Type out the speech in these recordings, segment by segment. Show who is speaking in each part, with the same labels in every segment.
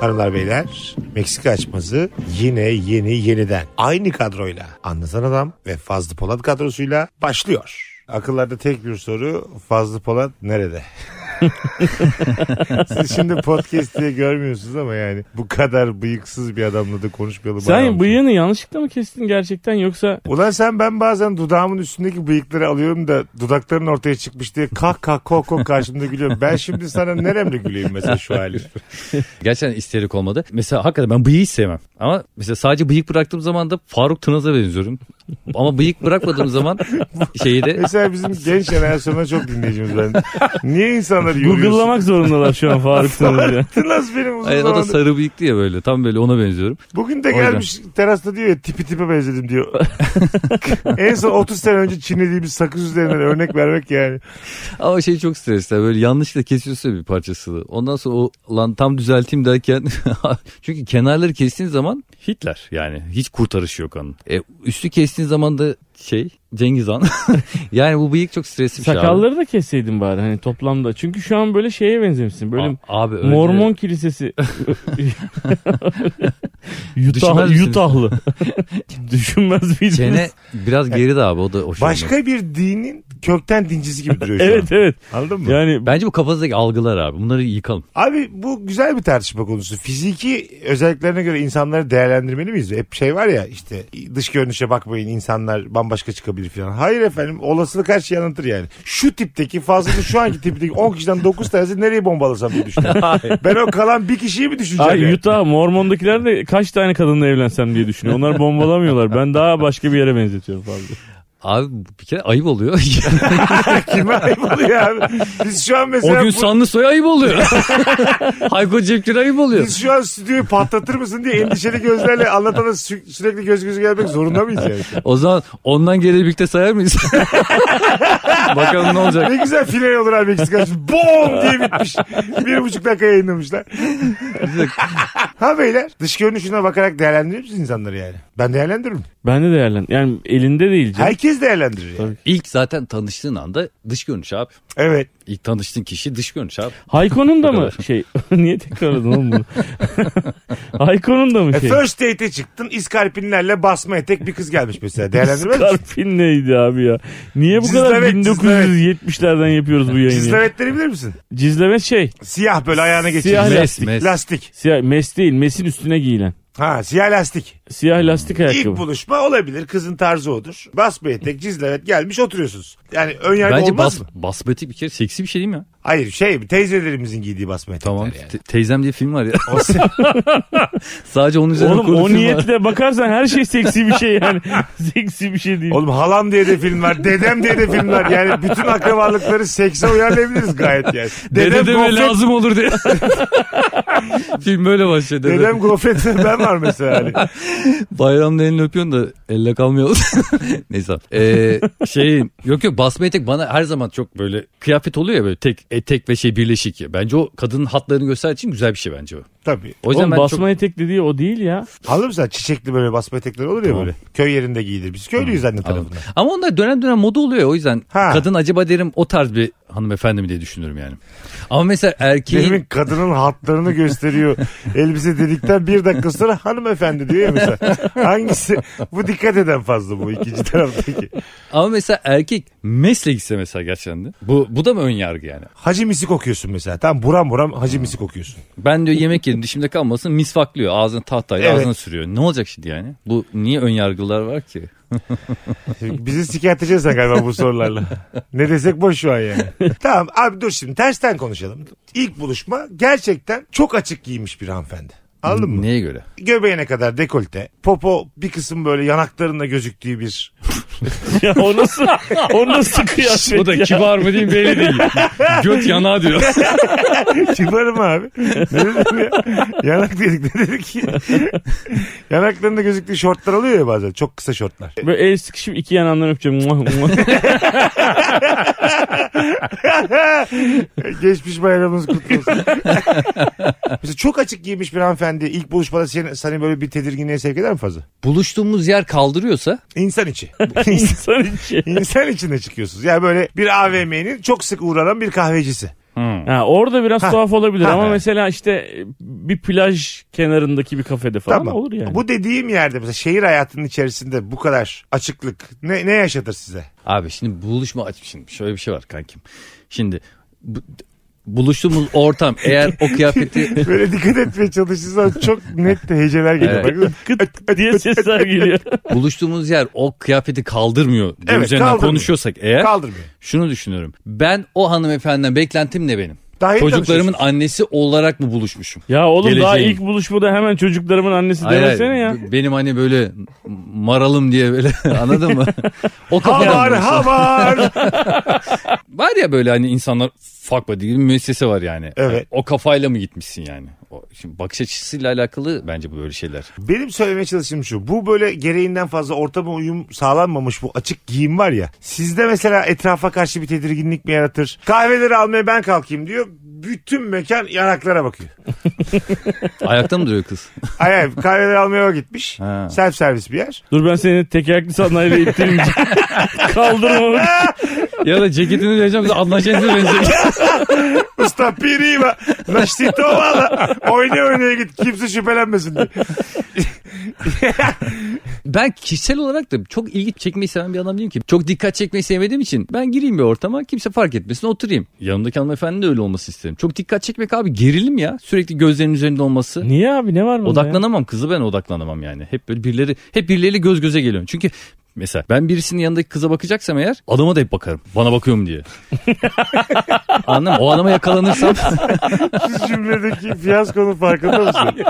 Speaker 1: Hanımlar beyler Meksika açması yine yeni yeniden aynı kadroyla anlatan adam ve Fazlı Polat kadrosuyla başlıyor. Akıllarda tek bir soru Fazlı Polat nerede? Siz şimdi podcast diye görmüyorsunuz ama yani bu kadar bıyıksız bir adamla da konuşmayalım. bayağı şey.
Speaker 2: Sen
Speaker 1: olmuş.
Speaker 2: bıyığını yanlışlıkla mı kestin gerçekten yoksa
Speaker 1: Ulan sen ben bazen dudağımın üstündeki bıyıkları alıyorum da dudakların ortaya çıkmış diye kah kah kok kok karşımda gülüyorum. Ben şimdi sana neremle güleyim mesela şu hali.
Speaker 3: Gerçekten isterik olmadı. Mesela hakikaten ben bıyığı hiç sevmem. Ama mesela sadece bıyık bıraktığım zaman da Faruk Tınaz'a benziyorum. Ama bıyık bırakmadığım zaman şeyi de
Speaker 1: Mesela bizim genç jenerasyonda çok dinleyicimiz ben. Niye insanları yoruyorsun?
Speaker 2: Google'lamak zorundalar şu an Faruk Tanrı'ya.
Speaker 1: Nasıl benim uzun
Speaker 3: Hayır, o da
Speaker 1: zamandır.
Speaker 3: sarı bıyıklı ya böyle. Tam böyle ona benziyorum.
Speaker 1: Bugün de
Speaker 3: O yüzden.
Speaker 1: gelmiş terasta diyor ya tipi tipe benzedim diyor. en son 30 sene önce çiğnediğimiz sakız üzerinden örnek vermek yani.
Speaker 3: Ama şey çok stresli. Böyle yanlışlıkla kesiyorsa bir parçası. Ondan sonra o lan tam düzelteyim derken. çünkü kenarları kestiğin zaman Hitler yani. Hiç kurtarış yok onun. E, üstü kestiğin zaman da şey Cengiz Han. yani bu bıyık çok stresli bir şey abi.
Speaker 2: Sakalları da kesseydin bari hani toplamda. Çünkü şu an böyle şeye benzemişsin. Böyle
Speaker 3: A- abi öyle-
Speaker 2: Mormon kilisesi.
Speaker 3: Düşünmez
Speaker 2: Yutah,
Speaker 3: misiniz?
Speaker 2: Yutahlı. Düşünmez miydiniz?
Speaker 3: Çene biraz geri de abi o da hoşuma gitti.
Speaker 1: Başka bir dinin kökten dincisi gibi duruyor şu an.
Speaker 2: Evet evet.
Speaker 1: Anladın mı?
Speaker 2: Yani
Speaker 3: Bence bu kafadaki algılar abi. Bunları yıkalım.
Speaker 1: Abi bu güzel bir tartışma konusu. Fiziki özelliklerine göre insanları değerlendirmeli miyiz? Hep şey var ya işte dış görünüşe bakmayın insanlar bambaşka çıkabilir falan. Hayır efendim olasılık her şeyi anlatır yani. Şu tipteki fazlası şu anki tipteki 10 kişiden 9 tanesi nereye bombalasam diye düşünüyorum. ben o kalan bir kişiyi mi düşüneceğim?
Speaker 2: Ay
Speaker 1: yani?
Speaker 2: Utah Mormon'dakiler de kaç tane kadınla evlensem diye düşünüyor. Onlar bombalamıyorlar. Ben daha başka bir yere benzetiyorum fazla.
Speaker 3: Abi bir kere ayıp oluyor.
Speaker 1: Kime ayıp oluyor abi? Biz şu an
Speaker 3: o
Speaker 1: mesela
Speaker 3: gün
Speaker 1: bu-
Speaker 3: Sanlı Soy ayıp oluyor. Hayko Cepkin ayıp oluyor.
Speaker 1: biz şu an stüdyoyu patlatır mısın diye endişeli gözlerle anlatana sü- sürekli göz göze gelmek zorunda mıyız yani?
Speaker 3: O zaman ondan geriye birlikte sayar mıyız? Bakalım ne olacak.
Speaker 1: Ne güzel final olur abi Meksika. Bom diye bitmiş. Bir buçuk dakika yayınlamışlar. ha beyler dış görünüşüne bakarak değerlendirir misiniz insanları yani? Ben değerlendiririm.
Speaker 2: Ben de değerlen. Yani elinde değil canım.
Speaker 1: Herkes değerlendirir. Yani.
Speaker 3: İlk zaten tanıştığın anda dış görünüş abi.
Speaker 1: Evet.
Speaker 3: İlk tanıştığın kişi dış görünüş abi.
Speaker 2: Hayko'nun da
Speaker 3: Bu
Speaker 2: mı
Speaker 3: kadar.
Speaker 2: şey? Niye tekrarladın oğlum bunu? Hayko'nun da mı
Speaker 1: E,
Speaker 2: şey?
Speaker 1: first date'e çıktın iskarpinlerle basma etek bir kız gelmiş mesela. Değerlendirmez misin?
Speaker 2: Karpin neydi abi ya? Niye bu kadar
Speaker 1: Cizlevet,
Speaker 2: 1970'lerden yapıyoruz bu yayını?
Speaker 1: Cizlevetleri bilir misin?
Speaker 2: Cizleme şey.
Speaker 1: Siyah böyle ayağına geçiyor.
Speaker 2: Siyah
Speaker 3: Mes
Speaker 2: lastik.
Speaker 3: mes.
Speaker 1: Lastik.
Speaker 2: Siyah, mes değil. Mesin üstüne giyilen.
Speaker 1: Ha siyah lastik.
Speaker 2: Siyah lastik
Speaker 1: İlk
Speaker 2: ayakkabı.
Speaker 1: buluşma olabilir. Kızın tarzı odur. Basma etek, cizlevet gelmiş oturuyorsunuz. Yani ön yargı
Speaker 3: Bence
Speaker 1: olmaz
Speaker 3: bas,
Speaker 1: mı?
Speaker 3: basmati bir kere seksi bir şey değil mi ya?
Speaker 1: Hayır şey teyzelerimizin giydiği basma etekler
Speaker 3: Tamam.
Speaker 1: yani.
Speaker 3: Te- teyzem diye film var ya. Sadece onun üzerine
Speaker 2: Oğlum
Speaker 3: kurulu
Speaker 2: o
Speaker 3: film var.
Speaker 2: niyetle bakarsan her şey seksi bir şey yani. seksi bir şey değil.
Speaker 1: Oğlum halam diye de film var. Dedem diye de film var. Yani bütün akrabalıkları sekse uyarlayabiliriz gayet yani. Dedem
Speaker 3: Dede deme
Speaker 1: gofret,
Speaker 3: lazım olur diye. film böyle başlıyor. Dede.
Speaker 1: dedem gofret ben var mesela. Hani.
Speaker 3: Bayramda elini öpüyorsun da elle kalmıyor. Neyse. Ee, şey yok yok basma etek bana her zaman çok böyle kıyafet oluyor ya böyle tek etek ve şey birleşik. ya. Bence o kadının hatlarını gösterdiği için güzel bir şey bence o.
Speaker 1: Tabii.
Speaker 3: O yüzden
Speaker 2: Oğlum
Speaker 3: ben
Speaker 2: basma etek dediği o değil ya.
Speaker 1: Anladın mı sen? Çiçekli böyle basma etekleri olur ya
Speaker 3: Tamam.
Speaker 1: böyle. Köy yerinde giyilir. Biz köylüyüz anne
Speaker 3: çok Anladım.
Speaker 1: tarafında.
Speaker 3: Ama onlar dönem dönem moda oluyor ya, o yüzden
Speaker 1: Ha.
Speaker 3: kadın acaba derim o tarz bir hanımefendi mi diye düşünürüm yani. Ama mesela erkeğin
Speaker 1: Demin kadının hatlarını gösteriyor. Elbise dedikten bir dakika sonra hanımefendi diyor ya mesela. Hangisi? Bu dikkat eden fazla bu ikinci taraftaki.
Speaker 3: ama mesela erkek mesle gitse mesela gerçekten de. Bu, bu da mı ön yargı yani?
Speaker 1: Hacı misi kokuyorsun mesela. Tam buram buram hacı misi kokuyorsun.
Speaker 3: Ben diyor yemek yedim dişimde kalmasın misvaklıyor ağzını tahtayla
Speaker 1: Evet.
Speaker 3: ağzına sürüyor. Ne olacak şimdi yani? Bu niye ön yargılar var ki?
Speaker 1: Bizi sikerteceksin sen galiba bu sorularla. ne desek boş şu an yani. tamam abi dur şimdi tersten konuşalım. İlk buluşma gerçekten çok açık giymiş bir hanımefendi. Anladın mı?
Speaker 3: Neye göre?
Speaker 1: Göbeğine kadar dekolte. Popo bir kısım böyle yanaklarında gözüktüğü bir.
Speaker 2: ya o nasıl, o nasıl kıyafet
Speaker 3: O da
Speaker 2: ya?
Speaker 3: kibar mı diyeyim belli değil. Göt yanağı diyor.
Speaker 1: Kibarım abi. Ne dedim ya? Yanak dedik ne dedik ki? Yanaklarında gözüktüğü şortlar oluyor ya bazen. Çok kısa şortlar.
Speaker 2: Böyle el sıkışıp iki yanağından öpeceğim. Muah, muah.
Speaker 1: Geçmiş bayramımız kutlu olsun. Mesela çok açık giymiş bir hanımefendi ilk buluşmada seni, seni böyle bir tedirginliğe sevk eder mi fazla?
Speaker 3: Buluştuğumuz yer kaldırıyorsa
Speaker 1: İnsan içi.
Speaker 2: İnsan içi.
Speaker 1: İnsan içinde çıkıyorsunuz. Yani böyle bir AVM'nin çok sık uğranan bir kahvecisi.
Speaker 2: Ha, orada biraz
Speaker 1: Ha.
Speaker 2: tuhaf olabilir
Speaker 1: Ha.
Speaker 2: ama
Speaker 1: Ha.
Speaker 2: mesela işte e, bir plaj kenarındaki bir kafede falan
Speaker 1: Tamam.
Speaker 2: olur yani.
Speaker 1: Bu dediğim yerde mesela şehir hayatının içerisinde bu kadar açıklık ne, ne yaşatır size?
Speaker 3: Abi şimdi buluşma aç şimdi şöyle bir şey var kankim. Şimdi bu- buluştuğumuz ortam eğer o kıyafeti
Speaker 1: Böyle dikkat etmeye çalışırsan çok net de heceler geliyor.
Speaker 3: Evet.
Speaker 1: Bak,
Speaker 2: Kıt diye sesler geliyor.
Speaker 3: buluştuğumuz yer o kıyafeti kaldırmıyor
Speaker 1: Evet,
Speaker 3: evet, üzerinden
Speaker 1: kaldırmıyor.
Speaker 3: konuşuyorsak eğer
Speaker 1: Kaldırmıyor.
Speaker 3: şunu düşünüyorum. Ben o hanımefendiden beklentim ne benim?
Speaker 1: Daha yeni
Speaker 3: Çocuklarımın
Speaker 1: tanışıyorsunuz.
Speaker 3: annesi olarak mı buluşmuşum?
Speaker 2: Ya oğlum daha
Speaker 3: Geleceğin.
Speaker 2: ilk buluşmada hemen çocuklarımın annesi
Speaker 3: Hayır, hayır.
Speaker 2: demesene ya.
Speaker 3: B- Benim hani böyle maralım diye böyle anladın mı? O kafadan
Speaker 1: Havar
Speaker 3: buluştum.
Speaker 1: havar.
Speaker 3: Var ya böyle hani insanlar fuck buddy gibi bir müessese var yani. Hani
Speaker 1: Evet.
Speaker 3: O kafayla mı gitmişsin yani? O, şimdi bakış açısıyla alakalı bence bu böyle şeyler.
Speaker 1: Benim söylemeye çalıştığım şu. Bu böyle gereğinden fazla ortama uyum sağlanmamış bu açık giyim var ya. Sizde mesela etrafa karşı bir tedirginlik mi yaratır? Kahveleri almaya ben kalkayım diyor. Bütün mekan yanaklara bakıyor.
Speaker 3: Ayakta mı duruyor kız?
Speaker 1: Ay ay kahveleri almaya o gitmiş.
Speaker 3: Ha.
Speaker 1: Self servis bir yer.
Speaker 2: Dur ben seni tekerlekli sandalyeye ittireyim. Kaldırmamak.
Speaker 3: ya da ceketini vereceğim anlaşılmıyor bence.
Speaker 1: Usta pirima. Naştito valla. Oyna oynaya git. Kimse şüphelenmesin diye.
Speaker 3: ben kişisel olarak da çok ilgi çekmeyi seven bir adam değilim ki. Çok dikkat çekmeyi sevmediğim için ben gireyim bir ortama kimse fark etmesin oturayım. Yanımdaki hanımefendi de öyle olması isterim. Çok dikkat çekmek abi gerilim ya. Sürekli gözlerinin üzerinde olması.
Speaker 2: Niye abi ne var bunda ya?
Speaker 3: Odaklanamam kızı ben odaklanamam yani. Hep böyle birileri hep birileriyle göz göze geliyorum. Çünkü mesela ben birisinin yanındaki kıza bakacaksam eğer adama da hep bakarım. Bana bakıyor mu diye. Anladın mı? O adama yakalanırsam
Speaker 1: Şu cümledeki fiyaskonun farkında mısın?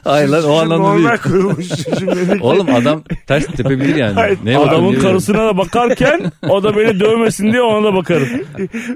Speaker 3: hayır lan o
Speaker 1: Şu
Speaker 3: anlamda
Speaker 1: Normal
Speaker 3: değil.
Speaker 1: kurulmuş şu cümledeki.
Speaker 3: Oğlum adam ters tepebilir yani.
Speaker 1: Hayır.
Speaker 3: Neye bakıyor
Speaker 2: Adamın
Speaker 3: bilmiyorum.
Speaker 2: karısına da bakarken o da beni dövmesin diye ona da bakarım.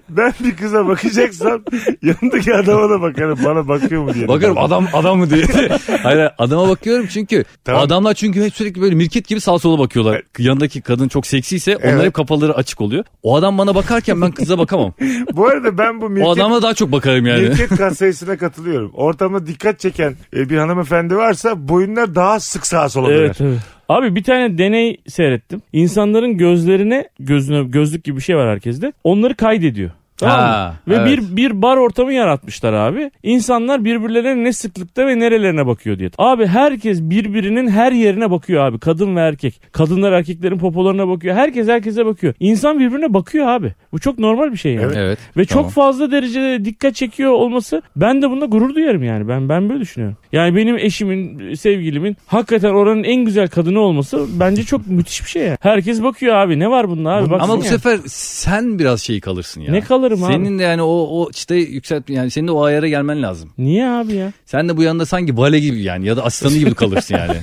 Speaker 1: Ben bir kıza bakacaksam yanındaki adama da bakarım. Bana bakıyor mu diye.
Speaker 3: Bakarım adam adam mı diye. hayır, hayır, adama bakıyorum çünkü
Speaker 1: Tamam.
Speaker 3: adamlar çünkü hep sürekli böyle mirket gibi sağa sola bakıyorlar. Yanındaki kadın çok seksiyse onlar
Speaker 1: Evet.
Speaker 3: hep kafaları açık oluyor. O adam bana bakarken ben kıza bakamam.
Speaker 1: Bu arada ben bu
Speaker 3: O
Speaker 1: milket,
Speaker 3: adama daha çok bakarım yani.
Speaker 1: milket kat sayısına katılıyorum. Ortamda dikkat çeken e, bir hanımefendi varsa boyunlar daha sık sağa sola döner.
Speaker 2: Evet, evet. Abi bir tane deney seyrettim. İnsanların gözlerine gözüne gözlük gibi bir şey var herkeste. Onları kaydediyor. Tamam mı?
Speaker 3: Ha,
Speaker 2: ve
Speaker 3: evet.
Speaker 2: bir bir bar ortamı yaratmışlar abi. İnsanlar birbirlerine ne sıklıkta ve nerelerine bakıyor diye. Abi herkes birbirinin her yerine bakıyor abi. Kadın ve erkek. Kadınlar erkeklerin popolarına bakıyor. Herkes herkese bakıyor. İnsan birbirine bakıyor abi. Bu çok normal bir şey yani.
Speaker 3: Evet.
Speaker 2: Ve çok
Speaker 3: Tamam.
Speaker 2: fazla derecede dikkat çekiyor olması ben de bunda gurur duyarım yani. Ben ben böyle düşünüyorum. Yani benim eşimin, sevgilimin hakikaten oranın en güzel kadını olması bence çok müthiş bir şey ya. Herkes bakıyor abi ne var bunda abi baksana.
Speaker 3: Ama bu sefer sen biraz şey kalırsın ya.
Speaker 2: Ne kalırım abi?
Speaker 3: Senin de yani o o çıtayı yükselt yani senin de o ayara gelmen lazım.
Speaker 2: Niye abi ya?
Speaker 3: Sen de bu yanında sanki vale gibi yani ya da aslanı gibi kalırsın yani.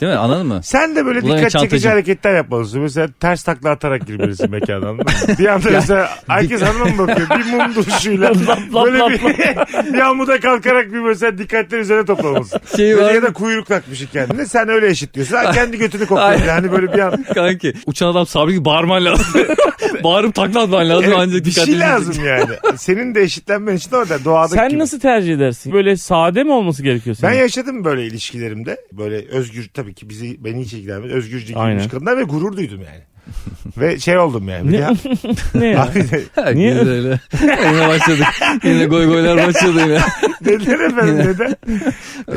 Speaker 3: Değil mi? Anladın mı?
Speaker 1: Sen de böyle
Speaker 3: Ulan
Speaker 1: dikkat
Speaker 3: çantacı.
Speaker 1: çekici hareketler yapmalısın. Mesela ters takla atarak girmelisin mekana. anladın mı? bir anda mesela herkes hanıma mı bakıyor? Bir mum duruşuyla.
Speaker 2: Lap, lap,
Speaker 1: böyle
Speaker 2: lap,
Speaker 1: bir, bir amuda kalkarak bir mesela dikkatler üzerine toplamalısın.
Speaker 3: Şey
Speaker 1: böyle
Speaker 3: var
Speaker 1: ya
Speaker 3: mı?
Speaker 1: da kuyruk takmışsın kendine. Sen öyle eşitliyorsun. Ha, kendi götünü kokluyor. Yani böyle bir an.
Speaker 3: Kanki uçan adam sabri gibi bağırman lazım. Bağırıp takla atman lazım
Speaker 1: Evet,
Speaker 3: ancak
Speaker 1: bir şey
Speaker 3: dikkatli-
Speaker 1: lazım yani. Senin de eşitlenmen için orada doğadaki
Speaker 2: Sen
Speaker 1: gibi.
Speaker 2: nasıl tercih edersin? Böyle sade mi olması gerekiyor
Speaker 1: Ben
Speaker 2: senin?
Speaker 1: yaşadım böyle ilişkilerimde. Böyle özgür tabii ki bizi beni hiç ilgilenmez. Özgürce girmiş
Speaker 2: Aynen.
Speaker 1: kadınlar ve gurur duydum yani. ve şey oldum yani. Bir
Speaker 2: Ne?
Speaker 1: de-
Speaker 2: ne ya?
Speaker 3: Ah,
Speaker 1: Abi,
Speaker 3: Herkes
Speaker 2: Niye?
Speaker 3: öyle. Yine başladık. Yine goy goylar başladı yine.
Speaker 1: Neden efendim neden?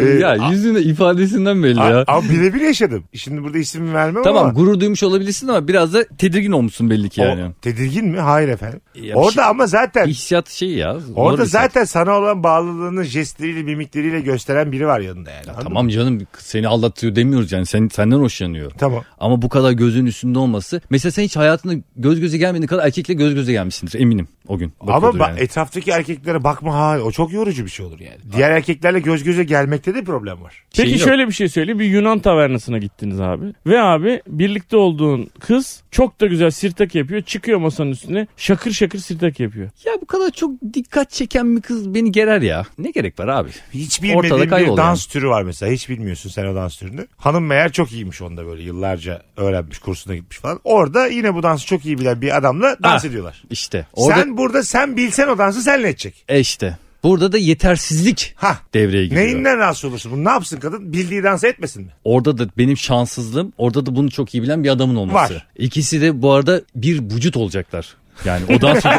Speaker 1: Ee,
Speaker 3: ya yüzünde ifadesinden belli
Speaker 1: a-
Speaker 3: ya.
Speaker 1: Ama birebir yaşadım. Şimdi burada isim vermem
Speaker 3: Tamam
Speaker 1: ama.
Speaker 3: gurur duymuş olabilirsin ama biraz da tedirgin olmuşsun belli ki yani.
Speaker 1: O, tedirgin mi? Hayır efendim.
Speaker 3: Ya bir
Speaker 1: orada
Speaker 3: şey-
Speaker 1: ama zaten
Speaker 3: hissiyat şey ya. zor
Speaker 1: orada
Speaker 3: bir şey.
Speaker 1: zaten sana olan bağlılığını jestleriyle mimikleriyle gösteren biri var yanında yani. Anladın mı?
Speaker 3: Tamam canım seni aldatıyor demiyoruz yani sen, senden hoşlanıyor.
Speaker 1: Tamam.
Speaker 3: Ama bu kadar gözün üstünde olması. Mesela sen hiç hayatında göz göze gelmediğin kadar erkekle göz göze gelmişsindir eminim o gün.
Speaker 1: Ama
Speaker 3: Bakıyordur
Speaker 1: ba- e-
Speaker 3: yani.
Speaker 1: etraftaki erkeklere bakma hali o çok yorucu bir şey olur yani. Diğer erkeklerle göz göze gelmekte de problem var.
Speaker 2: Peki
Speaker 3: Şeyin yok.
Speaker 2: şöyle bir şey söyleyeyim. Bir Yunan tavernasına gittiniz abi. Ve abi birlikte olduğun kız çok da güzel sirtak yapıyor. Çıkıyor masanın üstüne şakır şakır sirtak yapıyor.
Speaker 3: Ya bu kadar çok dikkat çeken bir kız beni gerer ya. Ne gerek var abi?
Speaker 1: Hiç
Speaker 3: Ortada
Speaker 1: bilmediğin bir
Speaker 3: kaybol
Speaker 1: dans türü var mesela. Hiç bilmiyorsun sen o dans türünü. Hanım meğer çok iyiymiş onda böyle yıllarca öğrenmiş kursuna gitmiş falan. Orada yine bu dansı çok iyi bilen bir adamla dans
Speaker 3: Ha.
Speaker 1: ediyorlar.
Speaker 3: İşte orada
Speaker 1: Sen burada sen bilsen o dansı senle edecek.
Speaker 3: e işte burada da yetersizlik
Speaker 1: Ha.
Speaker 3: devreye giriyor.
Speaker 1: Neyinden rahatsız olursun? Bunu ne yapsın kadın? Bildiği dansı etmesin mi?
Speaker 3: Orada da benim şanssızlığım orada da bunu çok iyi bilen bir adamın olması.
Speaker 1: Var.
Speaker 3: İkisi de bu arada bir vücut olacaklar. Yani o dans e,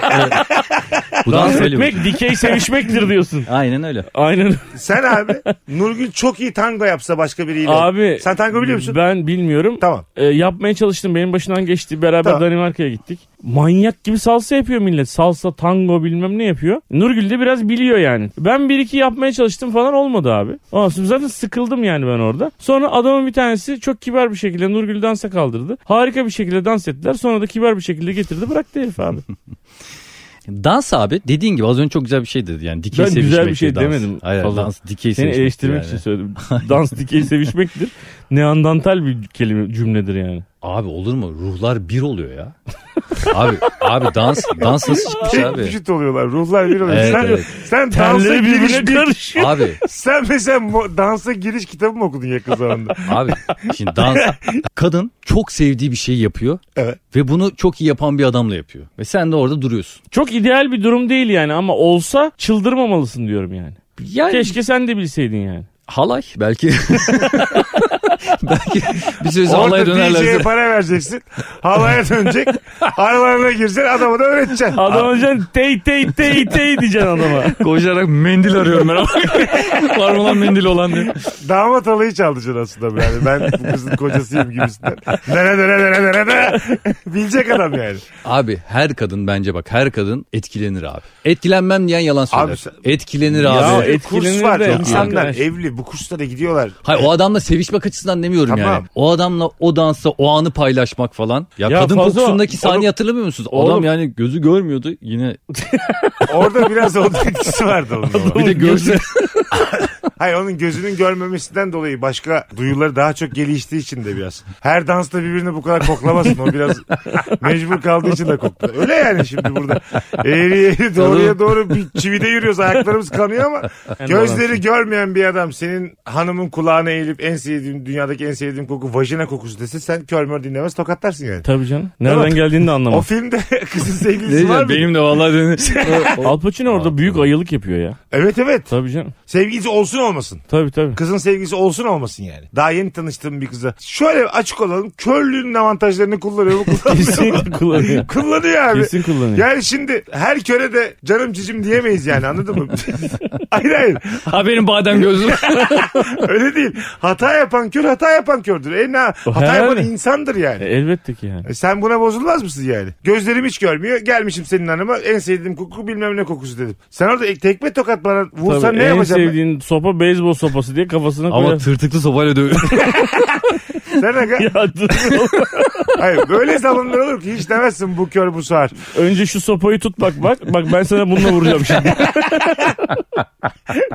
Speaker 3: bu dans
Speaker 2: Dans
Speaker 3: Hollywood.
Speaker 2: etmek dikey sevişmektir diyorsun.
Speaker 3: Aynen öyle.
Speaker 2: Aynen.
Speaker 1: Sen abi Nurgül çok iyi tango yapsa başka biriyle.
Speaker 2: Abi
Speaker 1: Sen tango biliyor musun?
Speaker 2: Ben bilmiyorum.
Speaker 1: Tamam.
Speaker 2: E, yapmaya çalıştım. Benim başından geçti. Beraber
Speaker 1: Tamam.
Speaker 2: Danimarka'ya gittik. Manyak gibi salsa yapıyor millet. Salsa, tango bilmem ne yapıyor. Nurgül de biraz biliyor yani. Ben bir iki yapmaya çalıştım falan olmadı abi. Ondan sonra zaten sıkıldım yani ben orada. Sonra adamın bir tanesi çok kibar bir şekilde Nurgül'ü dansa kaldırdı. Harika bir şekilde dans ettiler. Sonra da kibar bir şekilde getirdi bıraktı herif abi.
Speaker 3: Dans abi dediğin gibi az önce çok güzel bir şey dedi. Yani dikey
Speaker 2: Ben güzel
Speaker 3: sevişmek
Speaker 2: bir şey
Speaker 3: değil, dans.
Speaker 2: demedim.
Speaker 3: Hayır
Speaker 2: Fazla.
Speaker 3: dans
Speaker 2: Seni
Speaker 3: dikey sevişmek
Speaker 2: eleştirmek
Speaker 3: yani.
Speaker 2: için söyledim. Dans dikey sevişmektir. Neandantal bir kelime cümledir yani.
Speaker 3: Abi olur mu? Ruhlar bir oluyor ya. abi abi dans dans nasıl çıkmış
Speaker 1: Tek
Speaker 3: abi?
Speaker 1: vücut oluyorlar. Ruhlar bir oluyor.
Speaker 3: Evet,
Speaker 1: sen,
Speaker 3: evet.
Speaker 1: sen dansa
Speaker 2: Terleri
Speaker 1: giriş
Speaker 2: birbirine
Speaker 1: bir...
Speaker 2: karışıyor.
Speaker 3: Abi
Speaker 1: Sen mesela mo- dansa giriş kitabı mı okudun yakın zamanda?
Speaker 3: abi şimdi dans kadın çok sevdiği bir şey yapıyor
Speaker 1: Evet.
Speaker 3: ve bunu çok iyi yapan bir adamla yapıyor. Ve sen de orada duruyorsun.
Speaker 2: Çok ideal bir durum değil yani ama olsa çıldırmamalısın diyorum yani.
Speaker 3: Yani
Speaker 2: Keşke sen de bilseydin yani.
Speaker 3: halay belki belki bir süre sonra halaya
Speaker 1: Orada DJ'ye
Speaker 3: dönerlerse
Speaker 1: para vereceksin. Havaya dönecek. Aralarına gireceksin. Adamı da öğreteceksin.
Speaker 2: Adam önce tey tey tey tey diyeceksin adama.
Speaker 3: koşarak mendil arıyorum ben. Var mı lan mendil olan diye.
Speaker 1: Damat alayı çaldıracaksın aslında. Yani ben bu kızın kocasıyım gibisinden. Dene dene dene dene dene. Bilecek adam yani.
Speaker 3: Abi her kadın bence bak her kadın etkilenir abi. Etkilenmem diyen yalan söyler.
Speaker 1: Abi sen-
Speaker 3: etkilenir
Speaker 1: Ya
Speaker 3: abi.
Speaker 2: et-
Speaker 1: kurs
Speaker 2: etkilenir
Speaker 1: var.
Speaker 2: de
Speaker 1: insanlar
Speaker 2: arkadaş.
Speaker 1: evli. Bu kurslara gidiyorlar.
Speaker 3: Hayır o adamla sevişmek açısından demiyorum
Speaker 1: Tamam.
Speaker 3: yani. O adamla o dansa o anı paylaşmak falan. Ya,
Speaker 2: Ya
Speaker 3: kadın
Speaker 2: fazla-
Speaker 3: kokusundaki sahneyi
Speaker 2: Oğlum-
Speaker 3: hatırlamıyor musunuz? Adam
Speaker 2: Oğlum-
Speaker 3: yani gözü görmüyordu yine.
Speaker 1: Orada biraz onun etkisi vardı onun. ama.
Speaker 3: Bir de gözü.
Speaker 1: Hayır onun gözünün görmemesinden dolayı başka duyuları daha çok geliştiği için de biraz. Her dansta birbirini bu kadar koklamasın. O biraz mecbur kaldığı için de koktu. Öyle yani şimdi burada. Eğri eğri doğruya doğru bir çivide yürüyoruz. Ayaklarımız kanıyor ama gözleri görmeyen bir adam senin hanımın kulağına eğilip en sevdiğim dünyadaki en sevdiğim koku vajina kokusu dese sen körmör dinlemez tokatlarsın yani.
Speaker 2: Tabii canım. Nereden
Speaker 1: Tamam.
Speaker 2: geldiğini de
Speaker 1: O
Speaker 2: anlamam.
Speaker 1: filmde kızın sevgilisi var
Speaker 3: Neyse,
Speaker 1: mı?
Speaker 3: benim de vallahi O- o-
Speaker 2: Al Pacino orada büyük ayılık yapıyor ya.
Speaker 1: Evet evet.
Speaker 2: Tabii canım.
Speaker 1: Sevgilisi olsun olmasın.
Speaker 2: Tabii tabii.
Speaker 1: Kızın sevgisi olsun olmasın yani. Daha yeni tanıştığım bir kıza. Şöyle açık olalım. Körlüğün avantajlarını kullanıyor mu kullanmıyor mu?
Speaker 2: Kesin kullanıyor.
Speaker 1: kullanıyor abi.
Speaker 2: Kesin kullanıyor.
Speaker 1: Yani şimdi her köre de canım cicim diyemeyiz yani anladın mı? hayır hayır
Speaker 3: ha benim badem gözüm.
Speaker 1: öyle değil. Hata yapan kör hata yapan kördür. E ne? Hata
Speaker 2: Herhalde.
Speaker 1: yapan insandır yani.
Speaker 2: E, elbette ki yani.
Speaker 1: E Sen buna bozulmaz mısın yani? Gözlerim hiç görmüyor. Gelmişim senin hanıma en sevdiğim koku bilmem ne kokusu dedim. Sen orada tekme tokat bana vursan
Speaker 2: Tabii,
Speaker 1: ne
Speaker 2: en
Speaker 1: yapacaksın?
Speaker 2: sevdiğin sopa beyzbol sopası diye kafasına
Speaker 3: Ama
Speaker 2: koyar.
Speaker 3: tırtıklı sopayla dövüyor.
Speaker 1: Sen aga,
Speaker 2: Ya, dur.
Speaker 1: hayır, böyle zamanlar olur ki hiç demezsin bu kör bu sağır.
Speaker 2: Önce şu sopayı tut bak bak. Bak ben sana bununla vuracağım şimdi.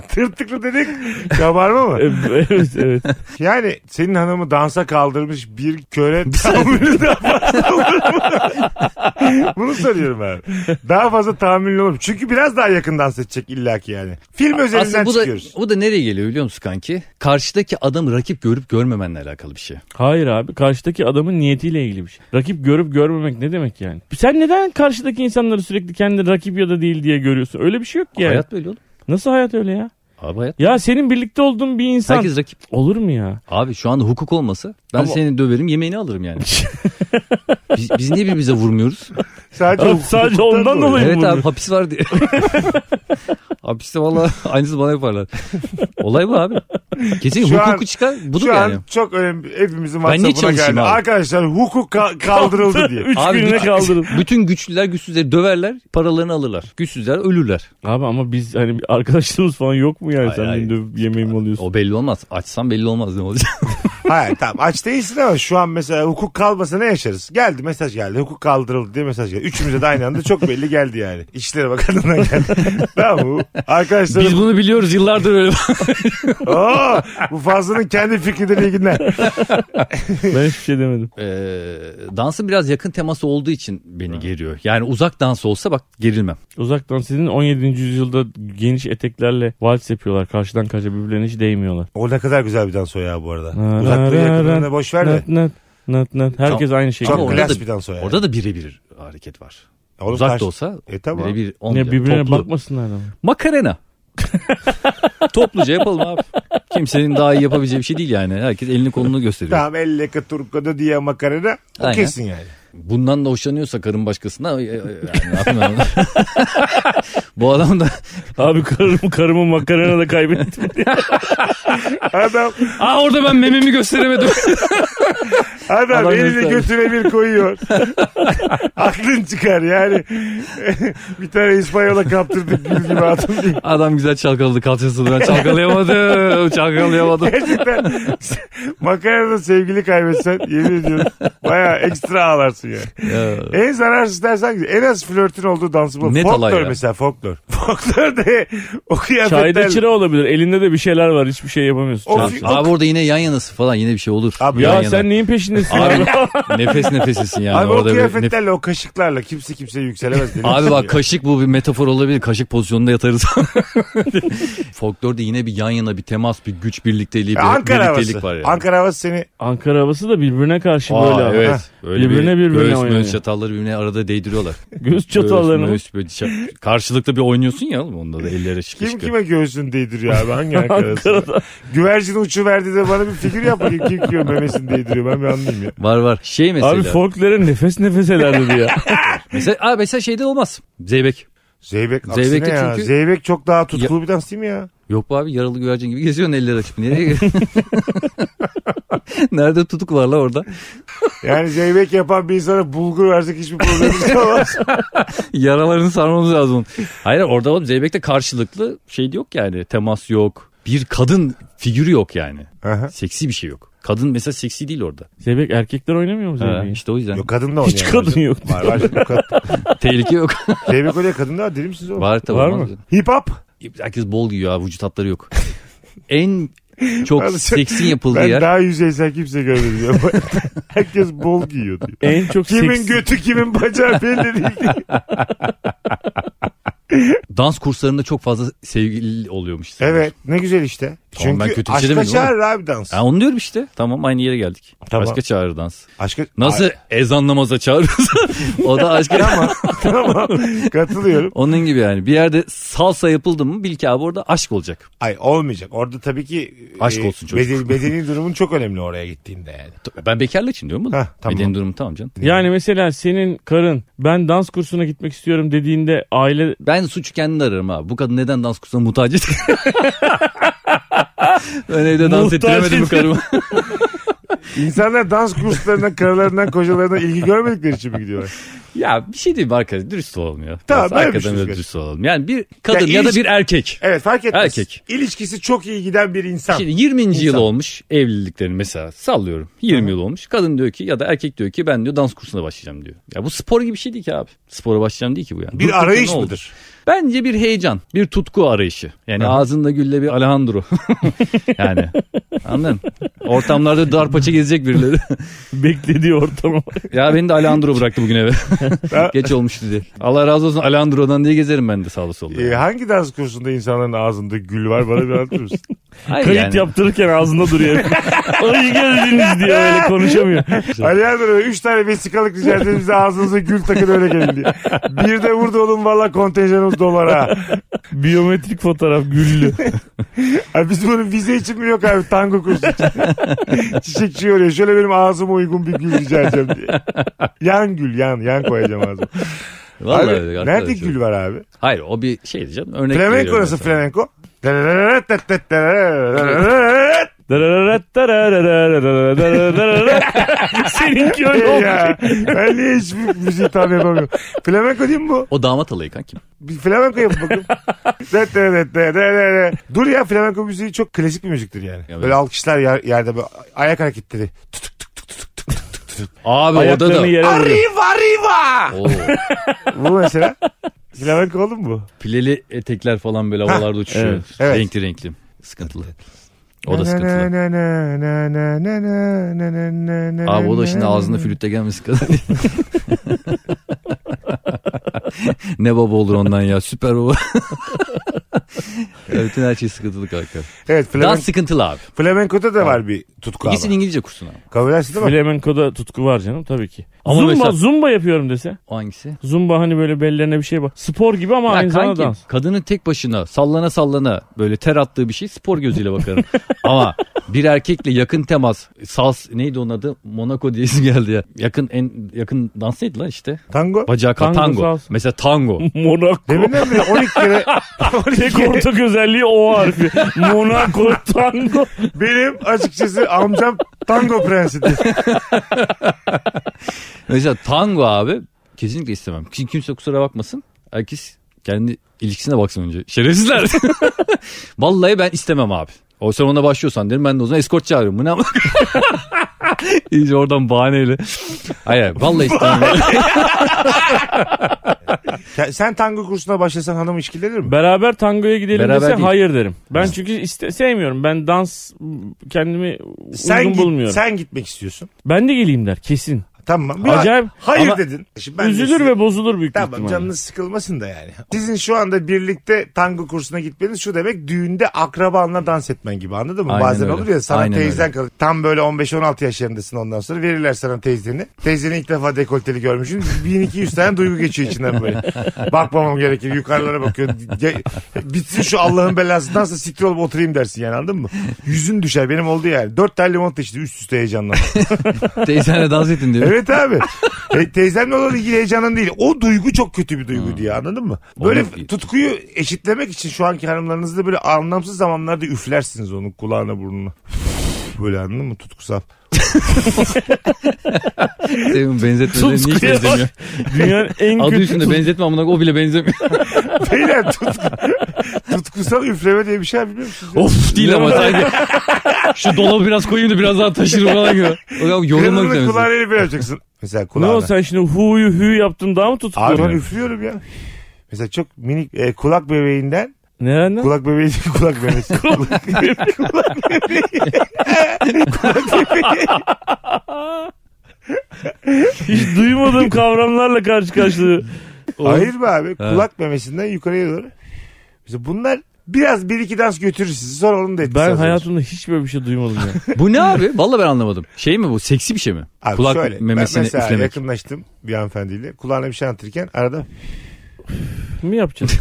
Speaker 1: Tırtıklı dedik kabarma mı?
Speaker 2: evet evet.
Speaker 1: Yani senin hanımı dansa kaldırmış bir köre tahammülü daha fazla olur mu? Bunu soruyorum abi. Daha fazla tahammülü olur mu? Çünkü biraz daha yakın dans edecek illaki yani. Film
Speaker 3: Aslında
Speaker 1: özelinden
Speaker 3: bu da,
Speaker 1: çıkıyoruz.
Speaker 3: bu da nereye geliyor biliyor musun kanki? Karşıdaki adamı rakip görüp görmemenle alakalı bir şey.
Speaker 2: Hayır abi karşıdaki adamın niyetiyle ilgili bir şey. Rakip görüp görmemek ne demek yani? Sen neden karşıdaki insanları sürekli kendi rakip ya da değil diye görüyorsun? Öyle bir şey yok ki yani.
Speaker 3: Hayat böyle oğlum.
Speaker 2: Nasıl hayat öyle ya?
Speaker 3: Abi hayat.
Speaker 2: Ya senin birlikte olduğun bir insan
Speaker 3: Herkes rakip.
Speaker 2: olur mu ya?
Speaker 3: Abi şu anda hukuk olmasa ben
Speaker 2: Ama-
Speaker 3: seni döverim yemeğini alırım yani. biz, biz niye birbirimize vurmuyoruz?
Speaker 1: Sadece,
Speaker 2: Abi sadece
Speaker 1: hukuktan
Speaker 2: ondan dolayı.
Speaker 3: evet
Speaker 2: vurmuyoruz?
Speaker 3: abi hapis var diye. Hapiste valla aynısı bana yaparlar. Olay bu abi. Kesin
Speaker 1: Şu
Speaker 3: hukuku
Speaker 1: an-
Speaker 3: çıkar budur
Speaker 1: Şu
Speaker 3: yani.
Speaker 1: an çok önemli hepimizin
Speaker 3: Ben niye
Speaker 1: WhatsApp'ına
Speaker 3: çalışayım
Speaker 1: geldi.
Speaker 3: abi?
Speaker 1: Arkadaşlar hukuk ka- kaldırıldı diye.
Speaker 2: Üç
Speaker 3: Abi
Speaker 2: gününe
Speaker 3: bir-
Speaker 2: kaldırın.
Speaker 3: Bütün güçlüler güçsüzleri döverler paralarını alırlar. Güçsüzler ölürler.
Speaker 2: Abi ama biz hani bir arkadaşlığımız falan yok mu yani?
Speaker 3: Hayır,
Speaker 2: Sen
Speaker 3: hayır.
Speaker 2: beni dövüp yemeğimi alıyorsun.
Speaker 3: O belli olmaz. Açsam belli olmaz ne olacak.
Speaker 1: Hayır tamam aç değilsin ama şu an mesela hukuk kalmasa ne yaşarız? Geldi mesaj geldi hukuk kaldırıldı diye mesaj geldi. Üçümüze de aynı anda çok belli geldi yani. İşleri Bakanı'ndan geldi. tamam mı? Arkadaşlar
Speaker 3: biz bunu biliyoruz yıllardır öyle.
Speaker 1: Oo, bu fazlanın kendi fikridir iyi günler.
Speaker 2: Ben hiçbir şey demedim.
Speaker 3: Ee, dansın biraz yakın teması olduğu için beni geriyor. Yani uzak dans olsa bak gerilmem.
Speaker 2: Uzaktan sizin 17. yüzyılda geniş eteklerle vals yapıyorlar. Karşıdan karşıya birbirlerine hiç değmiyorlar.
Speaker 1: O ne kadar güzel bir dans o ya bu arada.
Speaker 2: Ha,
Speaker 1: Uzaklığı
Speaker 2: ra, ra,
Speaker 1: yakınlığını
Speaker 2: ra,
Speaker 1: boş ver de.
Speaker 2: Nat nat nat nat. Herkes aynı şey. şeyi.
Speaker 3: Ama
Speaker 1: Çok
Speaker 3: orada
Speaker 1: klas
Speaker 3: da-
Speaker 1: bir dans o yani.
Speaker 3: Orada da birebir hareket var.
Speaker 1: Oğlum
Speaker 3: Uzak
Speaker 1: karşı-
Speaker 3: da olsa
Speaker 1: E tamam.
Speaker 3: birebir
Speaker 2: Ne
Speaker 3: olmayacak.
Speaker 2: birbirine
Speaker 3: Toplu.
Speaker 2: bakmasınlar ama.
Speaker 3: Makarena. Topluca yapalım abi. Kimsenin daha iyi yapabileceği bir şey değil yani. Herkes elini kolunu gösteriyor.
Speaker 1: Tamam elle katurkada diye makarna o
Speaker 3: Aynen.
Speaker 1: kesin yani.
Speaker 3: Bundan da hoşlanıyorsa karın başkasına e, e, yani ne yapayım ben onu? Bu adam da
Speaker 2: Abi karımı karımı makarana da kaybettim.
Speaker 1: Adam,
Speaker 3: Aa orada ben mememi gösteremedim.
Speaker 1: adam
Speaker 3: Adam
Speaker 1: elini
Speaker 3: gösterdi.
Speaker 1: götüne bir koyuyor. Aklın çıkar yani. bir tane İspanyola kaptırdık gül gibi atın diye.
Speaker 3: Adam güzel çalkaladı kalçasını ben çalkalayamadım. Çalkalayamadım.
Speaker 1: Gerçekten makarnada sevgili kaybetsen yemin ediyorum bayağı ekstra ağlarsın yani.
Speaker 3: Ya.
Speaker 1: En zararsız dersen en az flörtün olduğu dansı bul.
Speaker 3: Net alay
Speaker 1: Folklor
Speaker 3: ya.
Speaker 1: mesela folklor. Folklor de o kıyafetler.
Speaker 2: Çayda çıra olabilir. Elinde de bir şeyler var. Hiçbir şey yapamıyorsun.
Speaker 1: Of.
Speaker 2: Çay-
Speaker 1: fi-
Speaker 3: Abi orada yine yan yanası falan yine bir şey olur.
Speaker 1: Abi
Speaker 2: Ya
Speaker 3: Yan yana.
Speaker 2: sen neyin peşindesin abi?
Speaker 3: Abi nefes nefesisin yani.
Speaker 1: Abi o
Speaker 3: orada bir nef-
Speaker 1: kıyafetlerle o kaşıklarla kimse kimseye yükselemez. deli
Speaker 3: Abi
Speaker 1: misin
Speaker 3: bak
Speaker 1: ya?
Speaker 3: kaşık bu bir metafor olabilir. Kaşık pozisyonunda yatarız. Folklorda yine bir yan yana bir temas, bir güç birlikteliği, bir
Speaker 1: Ya E, Ankara
Speaker 3: birliktelik
Speaker 1: havası.
Speaker 3: var yani.
Speaker 1: Ankara havası seni
Speaker 2: Ankara havası da birbirine karşı
Speaker 3: Aa,
Speaker 2: böyle abi.
Speaker 3: evet. Öyle
Speaker 2: Birbirine
Speaker 3: bir
Speaker 2: birbirine
Speaker 3: göğüs,
Speaker 2: oynuyor.
Speaker 3: Göğüs çatalları birbirine arada değdiriyorlar.
Speaker 2: Göğüs çatallarını.
Speaker 3: Göğüs, göğüs, böyle ça- karşılıklı bir oynuyorsun ya oğlum onda da ellere şıkı
Speaker 1: kim
Speaker 3: şıkı.
Speaker 1: kime göğsünü değdiriyor abi hangi Ankara'da? Güvercin uçu verdi de bana bir figür yap bakayım kim kime memesini değdiriyor ben bir anlayayım ya.
Speaker 3: Var var. Şey mesela.
Speaker 2: Abi folklere nefes nefeseler dedi ya.
Speaker 3: mesela, aa, mesela şeyde olmaz. Zeybek.
Speaker 1: Zeybek aksine
Speaker 3: Zeybek'te
Speaker 1: ya.
Speaker 3: çünkü-
Speaker 1: Zeybek çok daha tutkulu bir dans değil mi ya?
Speaker 3: Yok be abi yaralı güvercin gibi geziyorsun eller açıp. Nereye Nerede tutuk var la orada?
Speaker 1: Yani zeybek yapan bir insana bulgur versek hiçbir problemimiz olmaz.
Speaker 3: Yaralarını sarmamız lazım. onun. Hayır orada oğlum Zeybek'te karşılıklı şey yok yani. Temas yok. Bir kadın figürü yok yani.
Speaker 1: Aha.
Speaker 3: Seksi bir şey yok. Kadın mesela seksi değil orada.
Speaker 2: Zeybek erkekler oynamıyor mu Zeybek'i?
Speaker 3: işte o yüzden.
Speaker 1: Yok kadın da oynayan
Speaker 2: Hiç
Speaker 1: var.
Speaker 2: kadın yok.
Speaker 1: Var var. Yok, kad-
Speaker 3: Tehlike yok.
Speaker 1: Zeybek oynayan kadın da var deli misiniz oğlum?
Speaker 3: var tabii.
Speaker 2: Var
Speaker 3: olmaz.
Speaker 2: mı?
Speaker 1: Hip hop.
Speaker 3: Herkes bol giyiyor abi. Vücut hatları yok. en çok
Speaker 1: Ben-
Speaker 3: seksin yapıldığı
Speaker 1: Ben
Speaker 3: yer.
Speaker 1: daha yüzeysel kimse görmedim. ya. Herkes bol giyiyor diyor.
Speaker 3: E,
Speaker 2: En çok
Speaker 1: Kimin
Speaker 2: seks...
Speaker 1: götü kimin bacağı belli değil. diye.
Speaker 3: Dans kurslarında çok fazla sevgili oluyormuş.
Speaker 1: Evet ne güzel işte.
Speaker 3: Tamam, ben
Speaker 1: Çünkü
Speaker 3: kötü bir şey
Speaker 1: aşka
Speaker 3: demedim ama.
Speaker 1: çağırır abi dans.
Speaker 3: Ha, onu diyorum işte. Tamam aynı yere geldik.
Speaker 1: Tamam.
Speaker 3: Başka çağrı dans.
Speaker 1: Aşka...
Speaker 3: Nasıl
Speaker 1: Ay,
Speaker 3: ezan namaza çağırırız? o da aşka.
Speaker 1: tamam tamam katılıyorum.
Speaker 3: Onun gibi yani. Bir yerde salsa yapıldı mı bil ki abi orada aşk olacak.
Speaker 1: Ay olmayacak. Orada tabii ki
Speaker 3: Aşk olsun çocuk.
Speaker 1: bedeni, bedeni durumun çok önemli oraya gittiğinde yani.
Speaker 3: Ben bekarlık için diyorum bunu.
Speaker 1: Heh, tamam.
Speaker 3: Bedenin durumu tamam canım.
Speaker 2: Yani mesela senin karın ben dans kursuna gitmek istiyorum dediğinde aile
Speaker 3: Ben suçu kendimde ararım abi. Bu kadın neden dans kursuna muhtaç etti? ben evde dans
Speaker 2: Muhtaç
Speaker 3: ettiremedim bu karımı.
Speaker 1: İnsanlar dans kurslarına, karılarından, kocalarına ilgi görmedikleri için mi gidiyorlar?
Speaker 3: ya bir şey diyeyim arkadaş dürüst olalım ya.
Speaker 1: Tamam,
Speaker 3: Biraz
Speaker 1: böyle
Speaker 3: Arkadan
Speaker 1: düşünürüz.
Speaker 3: biraz dürüst olalım. Yani bir kadın
Speaker 1: Ya
Speaker 3: ya, da
Speaker 1: ilişki-
Speaker 3: bir erkek.
Speaker 1: Evet fark etmez.
Speaker 3: Erkek.
Speaker 1: İlişkisi çok iyi giden bir insan.
Speaker 3: Şimdi 20. yıl
Speaker 1: İnsan.
Speaker 3: olmuş evliliklerin mesela sallıyorum. 20 yıl olmuş. Kadın diyor ki ya da erkek diyor ki ben diyor dans kursuna başlayacağım diyor. Ya bu spor gibi bir şey değil ki abi. Spora başlayacağım değil ki bu yani.
Speaker 1: bir
Speaker 3: Durduk ya
Speaker 1: arayış
Speaker 3: ne oldu?
Speaker 1: mıdır?
Speaker 3: Bence bir heyecan, bir tutku arayışı. Yani ağzında gülle bir Alejandro. yani anladın? Ortamlarda darpaça gezecek birileri.
Speaker 2: beklediği ortama.
Speaker 3: ya beni de Alejandro bıraktı bugün eve. Geç olmuş dedi. Allah razı olsun Alejandro'dan diye gezerim ben de sağda solda.
Speaker 1: Ee, hangi dans kursunda insanların ağzında gül var bana bir anlatır mısın?
Speaker 3: Hayır
Speaker 2: Kayıt
Speaker 3: yani.
Speaker 2: yaptırırken ağzında duruyor. Ay geldiniz diye öyle konuşamıyor.
Speaker 1: Alejandro 3 tane vesikalık rica ettiğimizde ağzınıza gül takın öyle gelin diye. Bir de vurdu oğlum valla kontenjanımız dolara.
Speaker 2: Biyometrik fotoğraf güllü.
Speaker 1: Ay biz bunun vize için mi yok abi tango kursu için. Çiçekçi oraya şöyle benim ağzıma uygun bir gül rica edeceğim diye. Yan gül yan yan koyacağım ağzıma.
Speaker 3: Vallahi
Speaker 1: Abi,
Speaker 3: öyle
Speaker 1: nerede
Speaker 3: arkadaşım.
Speaker 1: gül var abi?
Speaker 3: Hayır o bir şey canım. Örnek
Speaker 1: Flamenco
Speaker 3: veriyorum
Speaker 1: nasıl
Speaker 3: mesela.
Speaker 1: flamenco?
Speaker 2: Seninki öyle
Speaker 1: Ey
Speaker 2: olmuş.
Speaker 1: ya, ben niye hiçbir müziği tam yapamıyorum? Flamenco değil mi bu?
Speaker 3: O damat alayı kankim.
Speaker 1: Bir flamenco yap bakayım. Det, det, det, det, det, det. Dur ya flamenco müziği çok klasik bir müziktir yani.
Speaker 3: Evet.
Speaker 1: Böyle alkışlar yer- yerde böyle ayak hareketleri.
Speaker 3: Abi orada
Speaker 2: Ayaklarını
Speaker 3: da.
Speaker 2: yere vuruyor.
Speaker 1: Arriva arriva.
Speaker 3: Oo,
Speaker 1: Bu mesela. Flamenco oldu mu bu?
Speaker 3: pileli etekler falan böyle havalarda uçuşuyor.
Speaker 2: evet,
Speaker 1: evet.
Speaker 3: Renkli renkli. Sıkıntılı. O da sıkıntılı.
Speaker 1: Na, na, na, na, na, na, na, na, na, na, na,
Speaker 3: Abi o da şimdi
Speaker 1: na.
Speaker 3: ağzında flütte gelmesi kadar. ne baba olur ondan ya süper baba. Yani bütün her şey sıkıntılı kanka.
Speaker 1: Evet flamen...
Speaker 3: Dans sıkıntılı abi.
Speaker 1: flamenko'da da var bir tutku ama.
Speaker 3: İkisini İngilizce kursuna. al.
Speaker 1: Kabul edersin değil mi?
Speaker 2: Flamenco'da tutku var canım tabii ki.
Speaker 3: Ama
Speaker 2: zumba,
Speaker 3: mesela-
Speaker 2: zumba yapıyorum dese.
Speaker 3: O hangisi?
Speaker 2: Zumba hani böyle bellerine bir şey bak. Spor gibi ama
Speaker 3: Ya
Speaker 2: aynı zamanda
Speaker 3: kanki
Speaker 2: dans.
Speaker 3: kadının tek başına sallana sallana böyle ter attığı bir şey spor gözüyle bakarım. Ama bir erkekle yakın temas sals neydi onun adı Monaco diye isim geldi ya. Yakın en yakın dans neydi lan işte.
Speaker 1: Tango.
Speaker 3: Bacağı tango.
Speaker 2: Tango,
Speaker 3: tango.
Speaker 2: sals.
Speaker 3: Mesela tango.
Speaker 2: Monaco.
Speaker 1: Deminden beri 12 kere
Speaker 2: Tek ortak özelliği o harfi. Monaco tango.
Speaker 1: benim açıkçası amcam tango prensidir.
Speaker 3: Mesela tango abi kesinlikle istemem. Kim- Kimse kusura bakmasın. Herkes kendi ilişkisine baksın önce. Şerefsizler. Vallahi ben istemem abi. O sen ona başlıyorsan derim ben de o zaman eskort çağırıyorum. Bu ne ama? İyice oradan bahaneyle. Hayır hayır, vallahi istemem.
Speaker 1: Ya Sen tango kursuna başlasan hanım işkilenir mi?
Speaker 2: Beraber tangoya gidelim
Speaker 3: Beraber
Speaker 2: dese
Speaker 3: değil.
Speaker 2: hayır derim. Ben çünkü iste, sevmiyorum. Ben dans m, kendimi
Speaker 1: sen
Speaker 2: uygun
Speaker 1: git-
Speaker 2: bulmuyorum.
Speaker 1: Sen gitmek istiyorsun.
Speaker 2: Ben de geleyim der kesin.
Speaker 1: Tamam. Bir
Speaker 2: Acayip.
Speaker 1: Hayır
Speaker 2: Ama
Speaker 1: dedin. Şimdi ben de
Speaker 2: Üzülür
Speaker 1: size-
Speaker 2: ve bozulur büyük
Speaker 1: Tamam
Speaker 2: ihtimalle.
Speaker 1: canınız sıkılmasın da yani. Sizin şu anda birlikte tango kursuna gitmeniz şu demek düğünde akrabanla dans etmen gibi anladın mı?
Speaker 3: Aynen
Speaker 1: Bazen
Speaker 3: öyle.
Speaker 1: olur ya sana
Speaker 3: Aynen
Speaker 1: teyzen
Speaker 3: öyle.
Speaker 1: kalır. Tam böyle 15-16 yaşlarındasın ondan sonra verirler sana teyzeni. Teyzeni ilk defa dekolteli görmüşsün. 1200 tane duygu geçiyor içinden böyle. Bakmamam gerekir. Yukarılara bakıyor. Ge- Bitsin şu Allah'ın belasından sonra siktir olup oturayım dersin yani anladın mı? Yüzün düşer. Benim oldu yani. Dört tane limonata içti üst üste heyecanla.
Speaker 3: Teyzenle dans ettin diyor.
Speaker 1: Evet abi. E, teyzemle olan ilgili heyecanın değil. O duygu çok kötü bir duygu
Speaker 2: Hmm.
Speaker 1: diye anladın mı? Böyle
Speaker 3: Onu-
Speaker 1: tutkuyu eşitlemek için şu anki hanımlarınızda böyle anlamsız zamanlarda üflersiniz onun kulağına burnuna. Böyle anladın mı? Tutkusal.
Speaker 3: Senin benzetmelerini
Speaker 2: Sus
Speaker 3: hiç
Speaker 2: kıya bak.
Speaker 3: benzemiyor.
Speaker 2: Dünyanın en
Speaker 3: Adı
Speaker 2: kötü
Speaker 3: üstünde benzetme amına o bile benzemiyor.
Speaker 1: Beyler tutku, tutkusal üfleme diye bir şey var biliyor musunuz?
Speaker 3: of değil ama sanki. Şu dolabı biraz koyayım da biraz daha taşırım falan gibi. O zaman yorulmak
Speaker 1: Kırılını
Speaker 3: istemezsin.
Speaker 1: kulağına böyle yapacaksın. Mesela
Speaker 2: Ne
Speaker 1: kulağına.
Speaker 2: o sen şimdi hu'yu hü yaptın daha mı
Speaker 1: Abi ben
Speaker 2: tutuklu?
Speaker 1: üflüyorum ya. Mesela çok minik e, kulak bebeğinden
Speaker 2: Nereden?
Speaker 1: kulak bebeği değil, kulak memesi. kulak bebeği. kulak bebeği.
Speaker 2: Hiç duymadığım kavramlarla karşı karşıya.
Speaker 1: Hayır be abi.
Speaker 3: Ha.
Speaker 1: Kulak memesinden yukarıya doğru. Mesela bunlar biraz bir iki dans götürür sizi. Sonra onun da etkisi
Speaker 2: Ben
Speaker 1: azalır.
Speaker 2: hayatımda hiç böyle bir şey duymadım ya.
Speaker 3: Bu ne abi? Vallahi ben anlamadım. Şey mi bu? Seksi bir şey mi?
Speaker 1: Abi
Speaker 3: Kulak
Speaker 1: şöyle, ben
Speaker 3: memesini
Speaker 1: mesela
Speaker 3: üflemek.
Speaker 1: yakınlaştım bir hanımefendiyle. Kulağına bir şey anlatırken arada
Speaker 2: Mi yapacaksın?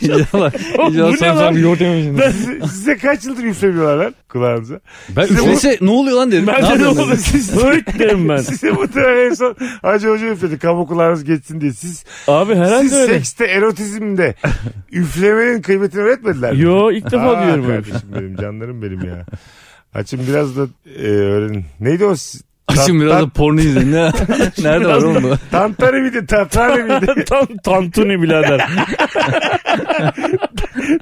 Speaker 3: İnşallah.
Speaker 2: Oğlum, bu
Speaker 3: İnşallah
Speaker 2: ne
Speaker 3: sen
Speaker 2: lan?
Speaker 3: sen bir yoğurt yememişsin.
Speaker 1: ben size, size kaç yıldır üflemiyorlar lan kulağınıza.
Speaker 3: Ben
Speaker 1: Size bu-
Speaker 3: üflese ne oluyor lan dedim.
Speaker 2: Ben de ne
Speaker 3: yapıyorsun
Speaker 2: olur?
Speaker 3: dedim.
Speaker 2: Hırt derim ben.
Speaker 1: Size bu tane en son Hacı Hoca üfledi. Kamu kulağınız geçsin diye. Siz,
Speaker 2: Abi herhalde
Speaker 1: siz
Speaker 2: öyle.
Speaker 1: sekste erotizmde üflemenin kıymetini öğretmediler mi?
Speaker 2: Yo ilk defa
Speaker 1: Aa,
Speaker 2: diyorum öyle. bir şey.
Speaker 1: kardeşim benim canlarım benim ya. Açın biraz da e, öğrenin. Neydi o?
Speaker 3: Açın biraz da porno izleyin. Ne- Nerede var oğlum bu?
Speaker 1: Tantare miydi? Tantare miydi?
Speaker 2: Tam şey. tantuni birader.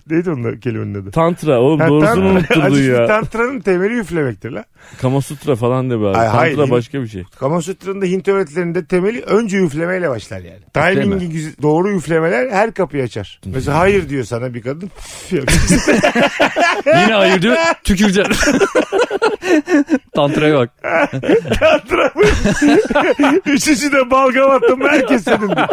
Speaker 1: Neydi onun kelimenin adı?
Speaker 2: Tantra oğlum
Speaker 1: Ha,
Speaker 2: doğrusunu
Speaker 1: tantra-
Speaker 2: unutturdu
Speaker 1: Acı
Speaker 2: ya.
Speaker 1: Tantranın temeli üflemektir la.
Speaker 2: Kamasutra falan de be abi.
Speaker 1: Ay, hayır,
Speaker 2: Tantra
Speaker 1: değil mi?
Speaker 2: başka bir şey.
Speaker 1: Kama Sutra'nın da Hint öğretilerinde temeli önce üflemeyle başlar yani. Timingi güzel- doğru üflemeler her kapıyı açar. Mesela hayır diyor sana bir kadın. püf yapıyor.
Speaker 3: Yine hayır diyor. Tüküreceğim. Tantraya bak.
Speaker 1: Tantra mı? Üçüncü de balgam attım herkes senin diyor.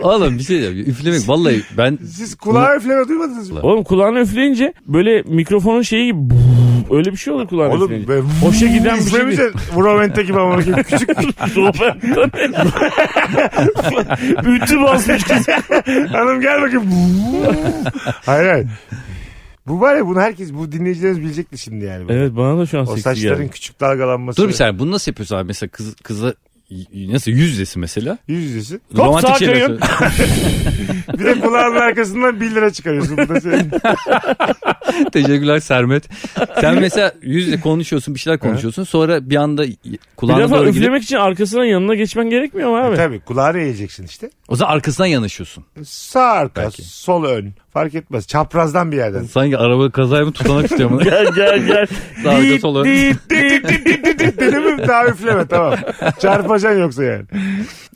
Speaker 3: Oğlum bir şey diyeceğim. Üflemek vallahi ben
Speaker 1: Siz kulağa üfleme duymadınız mı?
Speaker 2: Oğlum kulağına üfleyince böyle mikrofonun şeyi gibi buh, öyle bir şey olur kulağına
Speaker 1: Oğlum
Speaker 2: üfleyince.
Speaker 1: be,
Speaker 2: Hoşa giden bir şey
Speaker 1: üflemeyeceksin. Vurament'teki gibi ama küçük
Speaker 2: Ütü basmış kız.
Speaker 1: hanım gel bakayım. hayır hayır. Bu var ya bunu herkes bu dinleyicilerimiz bilecekti şimdi yani.
Speaker 2: Evet bana da şu an
Speaker 1: O
Speaker 2: seksi
Speaker 1: saçların
Speaker 2: geldi.
Speaker 1: küçük dalgalanması.
Speaker 3: dur bir saniye bunu nasıl yapıyorsun abi? Mesela kız, kıza y- nasıl yüzdesi mesela? şey
Speaker 1: Yüz yüzesi.
Speaker 2: Top sağa
Speaker 3: şeyler
Speaker 2: kayın.
Speaker 3: söyle.
Speaker 1: Bir de kulağının arkasından 1 lira çıkarıyorsun. Bu da senin.
Speaker 3: Teşekkürler Sermet. Sen mesela yüzle konuşuyorsun bir şeyler konuşuyorsun sonra bir anda y-
Speaker 2: Bir
Speaker 3: kulağına
Speaker 2: defa
Speaker 3: doğru gidip
Speaker 2: üflemek için arkasına yanına geçmen gerekmiyor mu abi?
Speaker 1: Tabii kulağını eğeceksin işte.
Speaker 3: o zaman arkasından yanaşıyorsun.
Speaker 1: Sağ arka,
Speaker 3: Belki.
Speaker 1: sol ön. Fark etmez. Çaprazdan bir yerden.
Speaker 3: Sanki araba kazaya mı tutanak istiyorum.
Speaker 2: gel gel gel.
Speaker 3: Sağ arka,
Speaker 2: Dit,
Speaker 3: sol ön.
Speaker 2: dit, dit.
Speaker 1: Dedi mi daha üfleme tamam. Çarpacaksın yoksa yani.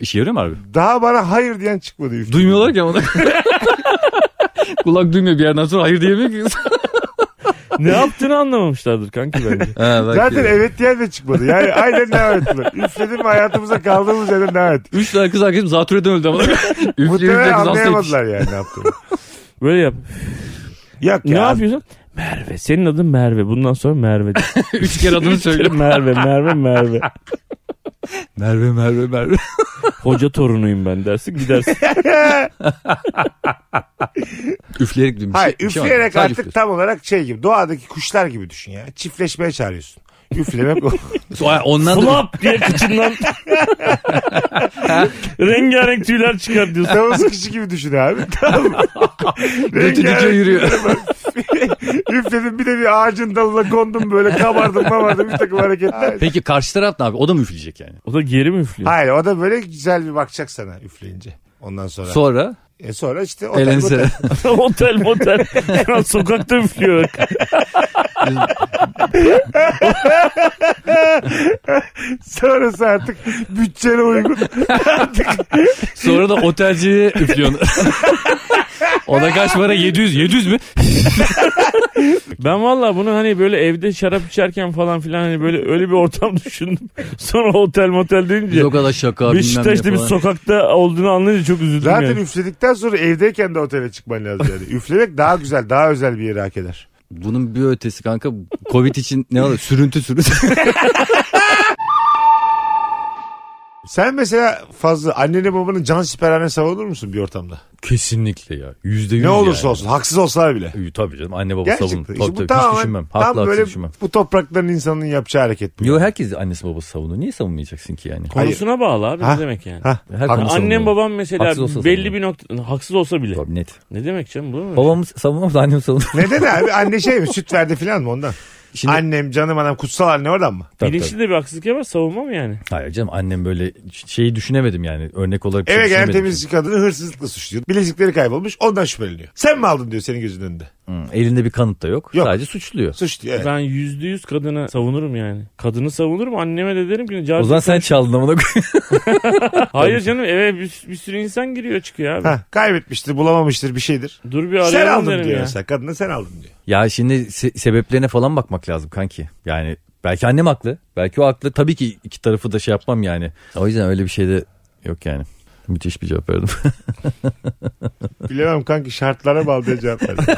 Speaker 3: İşe yarıyor şey mu abi?
Speaker 1: Daha bana hayır diyen çıkmadı. üfle.
Speaker 3: Duymuyorlar ki onu. Kulak duymuyor bir yerden sonra hayır diyemiyor ki.
Speaker 2: ne yaptığını anlamamışlardır kanki bence.
Speaker 1: Zaten evet diyen de çıkmadı. Yani aynen devam ettiler. Üfledim hayatımıza kaldığımız yerden devam et.
Speaker 3: Üç tane kız arkadaşım zatürreden öldü ama. Üfleye üfleye
Speaker 1: Muhtemelen
Speaker 3: kız hastaymış.
Speaker 1: anlayamadılar yani ne yaptığını.
Speaker 2: Böyle yap.
Speaker 1: Yok
Speaker 2: Ne
Speaker 1: ya.
Speaker 2: yapıyorsun? Merve. Senin adın Merve. Bundan sonra Merve.
Speaker 3: Üç kere adını söyle.
Speaker 2: Merve, Merve, Merve.
Speaker 3: Merve Merve Merve.
Speaker 2: Hoca torunuyum ben dersin gidersin.
Speaker 3: Üfleyerek duymuş. şey
Speaker 1: Hayır üfleyerek artık tam olarak şey gibi doğadaki kuşlar gibi düşün ya. Çiftleşmeye çağırıyorsun. Üflemek o.
Speaker 3: Ondan da
Speaker 2: Flap diye kıçından rengarenk tüyler çıkar diyorsun.
Speaker 1: Tavus kuşu gibi düşün abi. Tamam. mı?
Speaker 3: götü dike yürüyor.
Speaker 1: Üfledim bir de bir ağacın dalına kondum böyle kabardım kabardım bir takım hareketler.
Speaker 3: Peki karşı taraf ne yapıyor? O da mı üfleyecek yani?
Speaker 2: O da geri mi üflüyor?
Speaker 1: Hayır o da böyle güzel bir bakacak sana üfleyince. Ondan sonra.
Speaker 3: Sonra
Speaker 1: e sonra işte o
Speaker 3: elense.
Speaker 2: otel motel. Şu an sokakta üflüyor.
Speaker 1: Sonrası artık bütçene uygun.
Speaker 3: Sonra da otelciye üflüyorsun. Ona kaç para? 700. 700 mü?
Speaker 2: Ben valla bunu hani böyle evde şarap içerken falan filan hani böyle öyle bir ortam düşündüm. Sonra otel motel deyince
Speaker 3: Biz o kadar şaka
Speaker 2: Beşiktaş'ta bir
Speaker 3: bilmem ne falan.
Speaker 2: sokakta olduğunu anlayınca çok üzüldüm
Speaker 1: Zaten
Speaker 2: yani.
Speaker 1: üfledikten sonra evdeyken de otele çıkman lazım yani. Üflemek daha güzel daha özel bir yeri hak eder.
Speaker 3: Bunun bir ötesi kanka. Covid için ne olur? Sürüntü sürüntü.
Speaker 1: Sen mesela fazla annene babanın can siperhane savunur musun bir ortamda?
Speaker 3: Kesinlikle ya. Yüzde yüz
Speaker 1: Ne olursa
Speaker 3: yani.
Speaker 1: olsun haksız olsalar bile.
Speaker 3: Ee, Tabii canım anne baba
Speaker 1: Gerçekten.
Speaker 3: savunur. Tabii,
Speaker 1: İşte
Speaker 3: tabii.
Speaker 1: bu
Speaker 3: Hiç
Speaker 1: tamamen
Speaker 3: düşünmem.
Speaker 1: tam
Speaker 3: Haklı haksız
Speaker 1: böyle
Speaker 3: düşünmem.
Speaker 1: bu toprakların insanın yapacağı hareket bu.
Speaker 3: Yo herkes annesi babası savunur. Niye savunmayacaksın ki yani?
Speaker 2: Konusuna bağlı abi
Speaker 1: Ha.
Speaker 2: ne demek yani.
Speaker 1: Hah,
Speaker 3: Her
Speaker 1: haklısın.
Speaker 3: Haksız
Speaker 2: Annem
Speaker 3: olmalı.
Speaker 2: babam mesela
Speaker 3: Haksız olsa
Speaker 2: belli
Speaker 3: savunmalı.
Speaker 2: bir nokta haksız olsa bile.
Speaker 3: Tabii net.
Speaker 2: Ne demek canım bu mu?
Speaker 3: Babamız savunmaz da annem savunur.
Speaker 1: Neden abi? Anne şey mi? Süt verdi filan mı ondan?
Speaker 3: Şimdi
Speaker 1: Annem, canım anam, kutsal anne oradan mı?
Speaker 3: Tabii,
Speaker 2: Bilinçli de bir haksızlık yapar savunma mı yani?
Speaker 3: tabii. Hayır canım annem böyle şeyi düşünemedim yani. Örnek olarak bir şey
Speaker 1: Eve gelen
Speaker 3: düşünemedim.
Speaker 1: temizlik kadını hırsızlıkla suçluyor. Bilezikleri kaybolmuş ondan şüpheleniyor. Sen mi aldın diyor senin gözünün önünde.
Speaker 3: Hı, elinde bir kanıt da yok.
Speaker 1: Yok.
Speaker 3: Sadece suçluyor.
Speaker 1: Suçluyor. Evet.
Speaker 2: Ben yüzde yüz kadını savunurum yani. Kadını savunurum anneme de derim ki.
Speaker 3: O
Speaker 2: "Cavcı,
Speaker 3: zaman sen çaldın amına koy.
Speaker 2: Hayır canım eve bir, bir sürü insan giriyor çıkıyor abi.
Speaker 1: Hah, kaybetmiştir, bulamamıştır bir şeydir.
Speaker 2: Dur bir
Speaker 1: Sen
Speaker 2: arayalım
Speaker 1: aldın
Speaker 2: derim
Speaker 1: diyor
Speaker 2: ya.
Speaker 1: mesela. Kadına sen aldın diyor.
Speaker 3: Ya şimdi se- sebeplerine falan bakmak lazım kanki. Yani belki annem haklı. Belki o haklı. Tabii ki iki tarafı da şey yapmam yani. O yüzden öyle bir şey de yok yani. Müthiş bir cevap verdim.
Speaker 1: Bilemem kanki şartlara bağlı diye cevap verdi.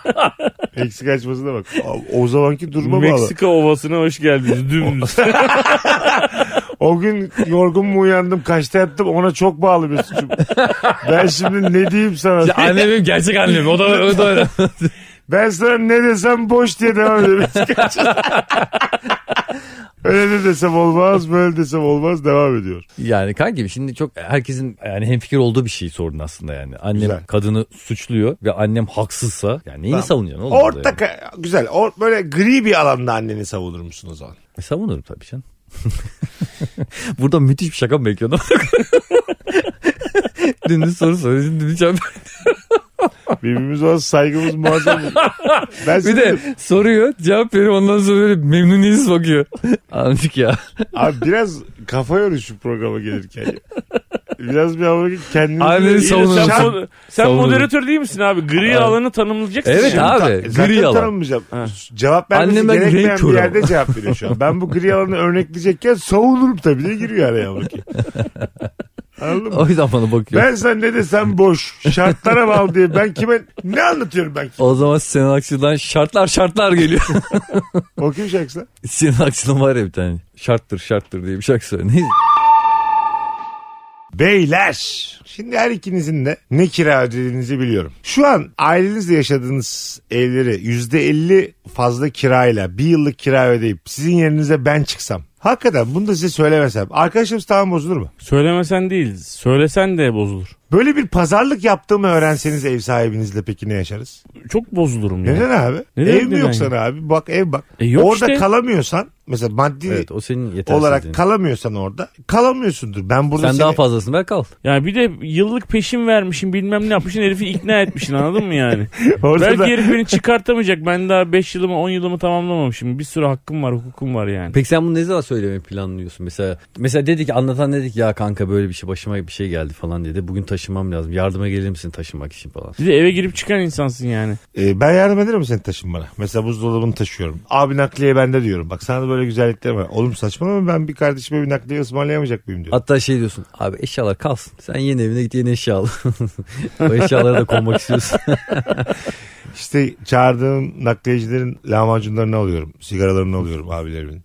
Speaker 1: Eksik açmasına bak. O, o zamanki duruma bağlı.
Speaker 2: Meksika ovasına hoş geldiniz dümdüz.
Speaker 1: O gün yorgun mu uyandım kaçta yattım ona çok bağlı bir suçum. ben şimdi ne diyeyim sana?
Speaker 3: annem benim gerçek annem. O da, o da öyle.
Speaker 1: Ben sana ne desem boş diye devam ediyorum. Öyle de desem olmaz, böyle desem olmaz devam ediyor.
Speaker 3: Yani kanki şimdi çok herkesin yani hemfikir olduğu bir şey sordun aslında yani. Annem
Speaker 1: Güzel.
Speaker 3: kadını suçluyor ve annem haksızsa yani neyini
Speaker 1: Tamam.
Speaker 3: savunacaksın oğlum? orada
Speaker 1: Orta
Speaker 3: yani?
Speaker 1: ka- güzel, or- böyle gri bir alanda anneni savunur musun o zaman?
Speaker 3: E, savunurum tabii canım. Burada müthiş bir şaka mı bekliyordum? Dümdüz soru soruyorsun dümdüz cevap.
Speaker 1: Birbirimize olan saygımız muazzam. Ben
Speaker 3: Bir
Speaker 1: seni-
Speaker 3: de soruyor cevap veriyor ondan sonra böyle memnuniyetsiz bakıyor. Amcık ya.
Speaker 1: Abi biraz kafa yorun şu programa gelirken. Biraz bir hava kendini...
Speaker 3: Anneni
Speaker 1: İyi de
Speaker 3: savunurum.
Speaker 2: sen,
Speaker 1: sen-
Speaker 2: mo- sen
Speaker 3: Savunurum.
Speaker 2: moderatör değil misin abi? Gri
Speaker 3: Abi.
Speaker 2: alanı tanımlayacaksın.
Speaker 3: Evet
Speaker 2: yani.
Speaker 3: abi.
Speaker 1: Ta- E, zaten
Speaker 3: gri alan.
Speaker 1: tanımlayacağım.
Speaker 2: Ha.
Speaker 1: Cevap vermesi
Speaker 3: Annem ben renk
Speaker 1: gerekmeyen
Speaker 3: körü
Speaker 1: bir
Speaker 3: ama.
Speaker 1: yerde cevap veriyor şu an. Ben bu gri alanı örnekleyecekken savunurum tabii diye giriyor araya bakayım. Anladın mı?
Speaker 3: O yüzden bana bakıyor.
Speaker 1: Ben sen ne desem boş. Şartlara bağlı diye. Ben kime ne anlatıyorum ben?
Speaker 3: O zaman Sinan Aksu'dan şartlar şartlar geliyor.
Speaker 1: O kim şarkısı?
Speaker 3: Sinan Aksu'nun var ya bir tane. Şarttır şarttır diye bir şarkı söylüyor. Neyse.
Speaker 1: Beyler. Şimdi her ikinizin de ne kira ödediğinizi biliyorum. Şu an ailenizle yaşadığınız evleri %50 fazla kirayla bir yıllık kira ödeyip sizin yerinize ben çıksam. Hakikaten bunu da size söylemesem. Arkadaşlarımız tamam bozulur mu?
Speaker 2: Söylemesen değil. Söylesen de bozulur.
Speaker 1: Böyle bir pazarlık yaptığımı öğrenseniz ev sahibinizle peki ne yaşarız?
Speaker 2: Çok bozulurum ya.
Speaker 1: Neden abi?
Speaker 2: Neden
Speaker 1: ev mi
Speaker 2: neden
Speaker 1: yok
Speaker 2: ya?
Speaker 1: sana abi? Bak ev bak.
Speaker 2: E yok
Speaker 1: Orada
Speaker 2: işte.
Speaker 1: kalamıyorsan mesela maddi
Speaker 3: Evet o senin yetersizliğin.
Speaker 1: olarak kalamıyorsan orada kalamıyorsundur. Ben burada
Speaker 3: Sen
Speaker 1: seni-
Speaker 3: daha fazlasın ver kal.
Speaker 2: Yani bir de yıllık peşin vermişim bilmem ne yapmışsın herifi ikna etmişsin anladın mı yani?
Speaker 1: orada
Speaker 2: Belki
Speaker 1: da-
Speaker 2: herif beni çıkartamayacak ben daha 5 yılımı 10 yılımı tamamlamamışım. Bir sürü hakkım var hukukum var yani.
Speaker 3: Peki sen bunu ne zaman söylemeyi planlıyorsun? Mesela mesela dedik anlatan dedik ya kanka böyle bir şey başıma bir şey geldi falan dedi. Bugün taşınmam lazım. Yardıma gelir misin taşınmak için falan.
Speaker 2: Bir de eve girip çıkan insansın yani.
Speaker 1: Ee, ben yardım ederim seni taşınmana. Mesela buzdolabını taşıyorum. Abi nakliye bende diyorum. Bak sana da böyle güzellikler var. Oğlum saçmalama ben bir kardeşime bir nakliye ısmarlayamayacak mıyım diyorum.
Speaker 3: Hatta şey diyorsun abi eşyalar kalsın. Sen yeni evine git yeni eşya al. o eşyalara da konmak istiyorsun.
Speaker 1: İşte çağırdığım nakliyecilerin lahmacunlarını alıyorum. Sigaralarını alıyorum abilerimin.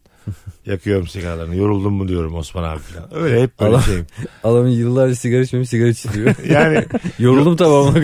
Speaker 1: Yakıyorum sigaralarını. Yoruldun mu diyorum Osman abi falan. Öyle hep böyle
Speaker 3: Allah-
Speaker 1: şeyim.
Speaker 3: Adamın yıllarca sigara içmemiş sigara içiyor.
Speaker 1: Yani
Speaker 3: Yoruldum tamam.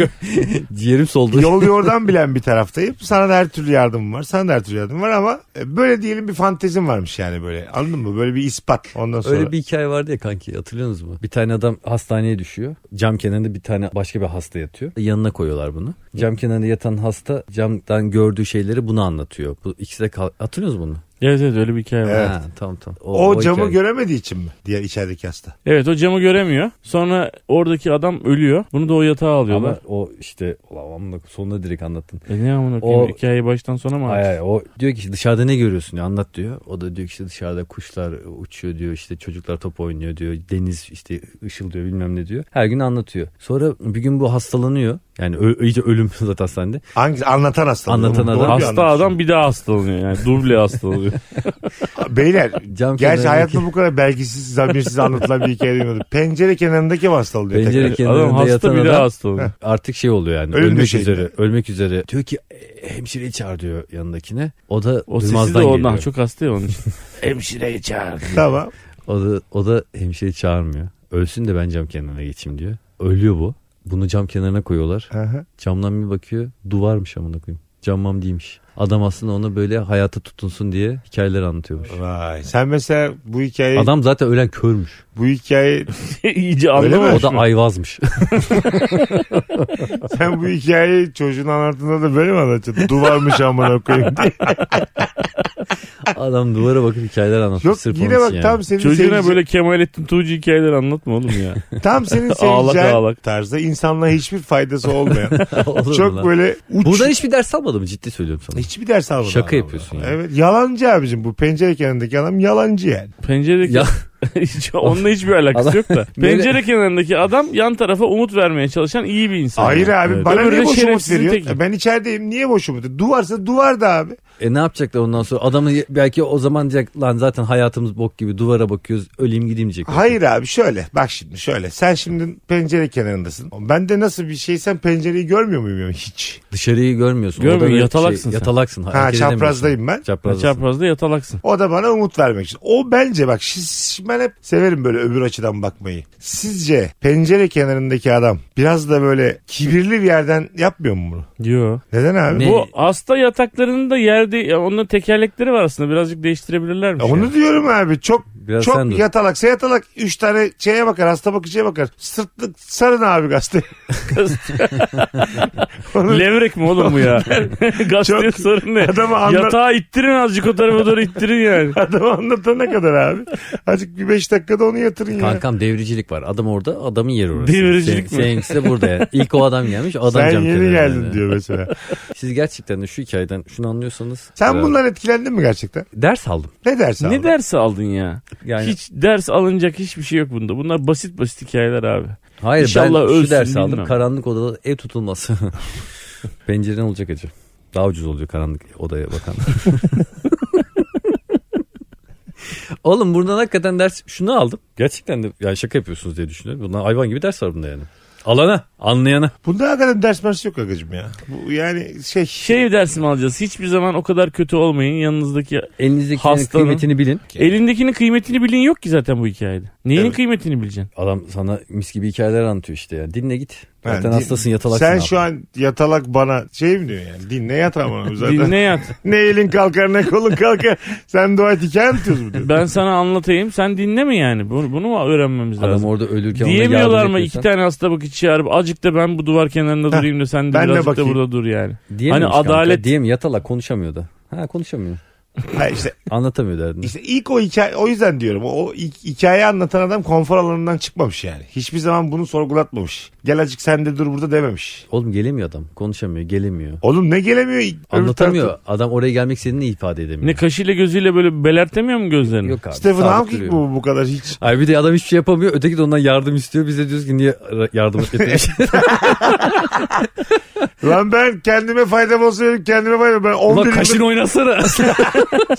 Speaker 3: Ciğerim soldu.
Speaker 1: yol yordan bilen bir taraftayım. Sana da her türlü yardımım var. Sana da her türlü yardımım var ama e, böyle diyelim bir fantezim varmış yani böyle. Anladın mı? Böyle bir ispat. Ondan sonra.
Speaker 3: Öyle bir hikaye vardı ya kanki hatırlıyorsunuz mu? Bir tane adam hastaneye düşüyor. Cam kenarında bir tane başka bir hasta yatıyor. Yanına koyuyorlar bunu. Cam kenarında yatan hasta camdan gördüğü şeyleri bunu anlatıyor. Bu ikisi de kal- hatırlıyorsunuz bunu.
Speaker 2: Evet evet öyle bir hikaye var.
Speaker 3: Ha, tamam tamam.
Speaker 1: O, camı
Speaker 3: hikaye.
Speaker 1: göremediği için mi? Diğer içerideki hasta.
Speaker 2: Evet o camı göremiyor. Sonra oradaki adam ölüyor. Bunu da o yatağa alıyorlar.
Speaker 3: Ama o işte ulan amına sonunda direkt anlattın.
Speaker 2: E ne amına koyayım
Speaker 3: O-
Speaker 2: hikayeyi baştan sona mı
Speaker 3: Ay,
Speaker 2: anlatayım?
Speaker 3: ay, o diyor ki işte dışarıda ne görüyorsun ya anlat diyor. O da diyor ki işte dışarıda kuşlar uçuyor diyor işte çocuklar top oynuyor diyor. Deniz işte ışıldıyor bilmem ne diyor. Her gün anlatıyor. Sonra bir gün bu hastalanıyor. Yani ö- iyice ölüm zaten hastanede.
Speaker 1: Hangisi? Anlatan hasta.
Speaker 3: Anlatan
Speaker 1: Doğru
Speaker 3: adam.
Speaker 1: bir
Speaker 2: Hasta
Speaker 1: anlatış.
Speaker 2: adam bir daha hastalanıyor yani duble hastalanıyor.
Speaker 1: Beyler
Speaker 3: Cam
Speaker 1: Gerçi
Speaker 3: kenarındaki-
Speaker 1: hayatımda bu kadar belgisiz, zamirsiz anlatılan bir hikaye duymadım. Pencere kenarındaki mi hastalığı diyor
Speaker 3: Pencere
Speaker 1: tekrar.
Speaker 3: kenarında
Speaker 2: adam hasta
Speaker 3: yatan
Speaker 2: bir daha
Speaker 3: adam
Speaker 2: hastalanıyor.
Speaker 3: artık şey oluyor yani.
Speaker 1: Ölüm
Speaker 3: ölmek
Speaker 1: döşeğinde.
Speaker 3: üzere. Ölmek üzere. Diyor ki "E, hemşireyi çağır diyor yanındakine. O da
Speaker 2: O sesi de
Speaker 3: duymazdan
Speaker 2: ondan
Speaker 3: geliyor.
Speaker 2: çok hasta ya onun için. Hemşireyi çağır.
Speaker 1: Tamam.
Speaker 3: O da, o da hemşireyi çağırmıyor. Ölsün de ben cam kenarına geçeyim diyor. Ölüyor bu. Bunu cam kenarına koyuyorlar.
Speaker 1: Hı hı.
Speaker 3: Camdan bir bakıyor. Duvarmış amına koyayım. Cammam değilmiş. Adam aslında ona böyle hayata tutunsun diye hikayeler anlatıyormuş.
Speaker 1: Vay. Sen mesela bu hikayeyi
Speaker 3: Adam zaten ölen körmüş.
Speaker 1: bu hikayeyi
Speaker 2: İyice
Speaker 1: Öyle mi?
Speaker 2: anlamamış
Speaker 3: O da
Speaker 2: mı?
Speaker 3: ayvazmış.
Speaker 1: sen bu hikayeyi çocuğun anlattığında da böyle mi anlatacaksın? Duvarmış amına koyayım diye.
Speaker 3: Adam duvara bakıp hikayeler anlatmış.
Speaker 1: Yok
Speaker 3: sırf
Speaker 1: yine
Speaker 3: onun
Speaker 1: bak
Speaker 3: için yani.
Speaker 1: tam senin
Speaker 2: Çocuğuna
Speaker 1: seveceğin,
Speaker 2: böyle Kemalettin Tuğcu hikayeleri anlatma oğlum ya.
Speaker 1: tam senin
Speaker 2: Ağlak
Speaker 1: seveceğin
Speaker 2: ağlak.
Speaker 1: tarzda insanlığa hiçbir faydası olmayan.
Speaker 3: Olur mu
Speaker 1: çok
Speaker 3: lan?
Speaker 1: böyle uç.
Speaker 3: Buradan hiçbir ders almadım ciddi söylüyorum sana.
Speaker 1: Hiçbir ders almadım.
Speaker 3: Şaka yapıyorsun yani.
Speaker 1: Evet yalancı abicim bu pencere kenarındaki adam yalancı yani.
Speaker 2: Penceredeki
Speaker 3: Ya
Speaker 2: hiç, onunla hiçbir alakası yok da.
Speaker 3: Böyle-
Speaker 2: Pencere kenarındaki adam yan tarafa umut vermeye çalışan iyi bir insan.
Speaker 1: Hayır
Speaker 2: Yani.
Speaker 1: abi
Speaker 2: Evet.
Speaker 1: bana
Speaker 2: Öbürü de
Speaker 1: niye boş umut
Speaker 2: şerefsizin
Speaker 1: veriyorsun?
Speaker 2: teki.
Speaker 1: Ben içerideyim niye boş umut? Duvarsa duvar da abi.
Speaker 3: E ne yapacaklar ondan sonra? Adamı ye- belki o zaman diyecek lan zaten hayatımız bok gibi duvara bakıyoruz öleyim gideyim diyecek.
Speaker 1: Hayır abi şöyle bak şimdi şöyle sen şimdi pencere kenarındasın. Ben de nasıl bir şey sen pencereyi görmüyor muyum yani hiç?
Speaker 3: Dışarıyı görmüyorsun.
Speaker 2: Görmüyor,
Speaker 3: O da böyle
Speaker 2: yatalaksın sen.
Speaker 3: Yatalaksın.
Speaker 1: Ha
Speaker 3: hareket edemiyorsun.
Speaker 1: çaprazdayım ben.
Speaker 3: Çaprazdasın.
Speaker 2: Çaprazda yatalaksın.
Speaker 1: O da bana umut vermek için. O bence bak şiş- ben hep severim böyle öbür açıdan bakmayı. Sizce pencere kenarındaki adam biraz da böyle kibirli bir yerden yapmıyor mu bunu?
Speaker 2: Diyor.
Speaker 1: Neden abi?
Speaker 3: Ne?
Speaker 2: Bu hasta yataklarının da yerde ya onun tekerlekleri var aslında birazcık şey. değiştirebilirlermiş.
Speaker 1: Ya Onu
Speaker 2: yani.
Speaker 1: diyorum abi çok
Speaker 3: Şey- Biraz sen dur.
Speaker 1: çok yatalaksa yatalak 3 tane şeye bakar hasta bakıcıya bakar. Sırtlık sarın abi gazete. Onu-
Speaker 2: Levrek mi oğlum bu ya? Gazeteye
Speaker 1: Çok-
Speaker 2: sorun ne?
Speaker 1: Adamı anlat-
Speaker 2: Yatağı ittirin azıcık o tarafa doğru ittirin yani.
Speaker 1: Adamı anlatana kadar abi. Azıcık bir 5 dakikada onu yatırın ya.
Speaker 3: Kankam devricilik var. Adam orada adamın yeri orası.
Speaker 2: Devricilik
Speaker 3: Sen-
Speaker 2: mi?
Speaker 3: Seninkisi de burada yani. İlk o adam gelmiş o adam
Speaker 1: Sen
Speaker 3: cam kenarında
Speaker 1: yeni geldin
Speaker 3: yani.
Speaker 1: diyor mesela.
Speaker 3: Siz gerçekten de şu hikayeden şunu anlıyorsanız.
Speaker 1: Sen
Speaker 3: e,
Speaker 1: bundan etkilendin mi gerçekten?
Speaker 3: Ders aldım.
Speaker 1: Ne dersin
Speaker 2: Ne
Speaker 1: abi?
Speaker 2: dersi aldın ya?
Speaker 3: Yani,
Speaker 2: Hiç ders alınacak hiçbir şey yok bunda. Bunlar basit basit hikayeler abi.
Speaker 3: Hayır
Speaker 2: İnşallah
Speaker 3: ben
Speaker 2: ölsün,
Speaker 3: şu dersi aldım.
Speaker 2: bilmem.
Speaker 3: Karanlık odada ev tutulması. Pencereden olacak acı. Daha ucuz oluyor karanlık odaya bakan. Oğlum buradan hakikaten ders şunu aldım. Gerçekten de yani şaka yapıyorsunuz diye düşünüyorum. Bundan hayvan gibi ders var bunda yani. Alana, anlayana.
Speaker 1: Bunda hakikaten ders mersi yok agacım ya. Bu yani şey...
Speaker 2: Şey dersi mi alacağız? Hiçbir zaman o kadar kötü olmayın. Yanınızdaki
Speaker 3: Elinizdeki
Speaker 2: Hastanın-
Speaker 3: kıymetini bilin.
Speaker 2: Elindekinin kıymetini bilin yok ki zaten bu hikayede. Neyin
Speaker 1: Evet.
Speaker 2: kıymetini bileceksin?
Speaker 3: Adam sana mis gibi hikayeler anlatıyor işte ya. Dinle git.
Speaker 1: Yani
Speaker 3: Zaten
Speaker 1: din-
Speaker 3: hastasın yatalaksın.
Speaker 1: Sen
Speaker 3: abi.
Speaker 1: şu an yatalak bana şey mi diyorsun yani? Dinle yatağı bana zaten.
Speaker 2: Dinle yat.
Speaker 1: ne elin kalkar ne kolun kalkar. Sen dua et hikaye anlatıyorsun mu diyorsun?
Speaker 2: Ben sana anlatayım. Sen dinle mi yani? Bunu, bunu mu öğrenmemiz
Speaker 3: Adam
Speaker 2: lazım?
Speaker 3: orada ölürken ona
Speaker 2: Diyemiyorlar
Speaker 3: yardım
Speaker 2: mı iki
Speaker 3: ediyorsan-
Speaker 2: tane hasta bakıcı çağırıp azıcık da ben bu duvar kenarında durayım da sen de
Speaker 1: ben de
Speaker 2: birazcık da
Speaker 1: bakayım.
Speaker 2: burada dur yani.
Speaker 3: Diyememiş
Speaker 2: Hani
Speaker 3: kanka.
Speaker 2: adalet-
Speaker 3: Diyem yatalak konuşamıyor da. Ha konuşamıyor.
Speaker 1: Ha işte,
Speaker 3: Anlatamıyor derdini.
Speaker 1: işte ilk o hikaye o yüzden diyorum o ilk hikaye anlatan adam konfor alanından çıkmamış yani. Hiçbir zaman bunu sorgulatmamış. Gel acık sen de dur burada dememiş.
Speaker 3: Oğlum gelemiyor adam. Konuşamıyor, gelemiyor.
Speaker 1: Oğlum ne gelemiyor? öbür tarafta?
Speaker 3: Anlatamıyor. Adam oraya gelmek istediğini ifade edemiyor.
Speaker 2: Ne kaşıyla gözüyle böyle belertemiyor mu gözlerini?
Speaker 3: Yok abi.
Speaker 1: Stephen
Speaker 3: sabit
Speaker 1: Hawking
Speaker 3: duruyor.
Speaker 1: bu bu kadar hiç.
Speaker 3: Ay bir de adam hiçbir şey yapamıyor. Öteki de ondan yardım istiyor. Biz de diyoruz ki niye ra- yardım etmemiş.
Speaker 2: Şey,
Speaker 1: Lan ben kendime faydam olsun dedim kendime faydam. Ben 11
Speaker 3: Ulan
Speaker 1: yıldır
Speaker 3: kaşın oynasana.
Speaker 1: Şey,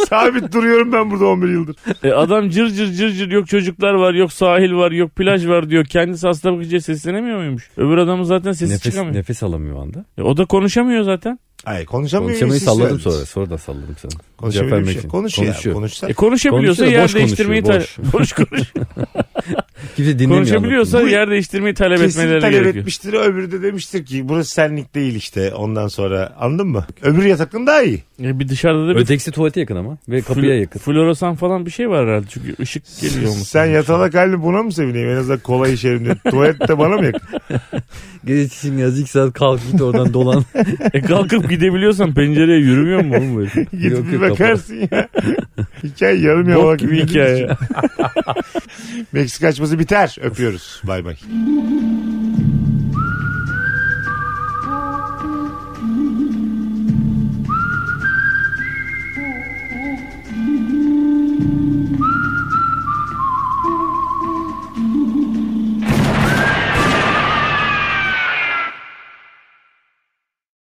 Speaker 1: sabit duruyorum ben burada 11 yıldır.
Speaker 2: E, adam cır cır cır cır yok çocuklar var yok sahil var yok plaj var diyor. Kendisi hasta bakınca seslenemiyor muymuş? Öbür adamın zaten sesi
Speaker 3: nefes,
Speaker 2: çıkamıyor.
Speaker 3: nefes alamıyor o anda.
Speaker 2: E, o da konuşamıyor zaten.
Speaker 1: Ay konuşamıyor.
Speaker 3: Konuşamayı
Speaker 1: siz
Speaker 3: salladım
Speaker 1: söylediniz.
Speaker 3: sonra. Sonra da salladım sana.
Speaker 1: Konuşamıyor
Speaker 3: Cevap
Speaker 1: bir
Speaker 3: vermek
Speaker 1: şey.
Speaker 3: için.
Speaker 1: Konuşuyor. Konuşuyor.
Speaker 3: Konuşuyor.
Speaker 1: Konuşsa
Speaker 2: E, konuşabiliyorsa
Speaker 3: Konuşuyor da boş
Speaker 2: yer değiştirmeyi talep
Speaker 3: konuşuyor,
Speaker 2: boş konuş.
Speaker 3: Kimse dinlemiyor.
Speaker 2: konuşabiliyorsa
Speaker 1: Bu-
Speaker 2: yer değiştirmeyi talep
Speaker 1: kesin
Speaker 2: etmeleri
Speaker 1: talep
Speaker 2: gerekiyor.
Speaker 1: etmiştir. Öbürü de demiştir ki burası senlik değil işte ondan sonra anladın mı? Öbür yataklığın daha iyi.
Speaker 2: E, bir dışarıda da bir
Speaker 3: Ötekisi tuvalete yakın ama. Ve kapıya
Speaker 2: fl-
Speaker 3: yakın.
Speaker 2: floresan falan bir şey var herhalde çünkü ışık geliyor mu?
Speaker 1: Sen yatalak halini buna mı sevineyim? En azından kolay işerim diye. Tuvalette bana mı yakın?
Speaker 3: Geç için yaz ilk saat kalk git oradan dolan.
Speaker 2: E kalkıp gidebiliyorsan pencereye yürümüyor mu oğlum böyle?
Speaker 1: Gidip
Speaker 3: Yok,
Speaker 1: bir
Speaker 3: yok,
Speaker 1: bakarsın ya. hikaye yarım yamalak
Speaker 2: Bok gibi
Speaker 1: bir Şey-
Speaker 2: hikaye.
Speaker 1: Meksika açması biter. Öpüyoruz. Bay bay.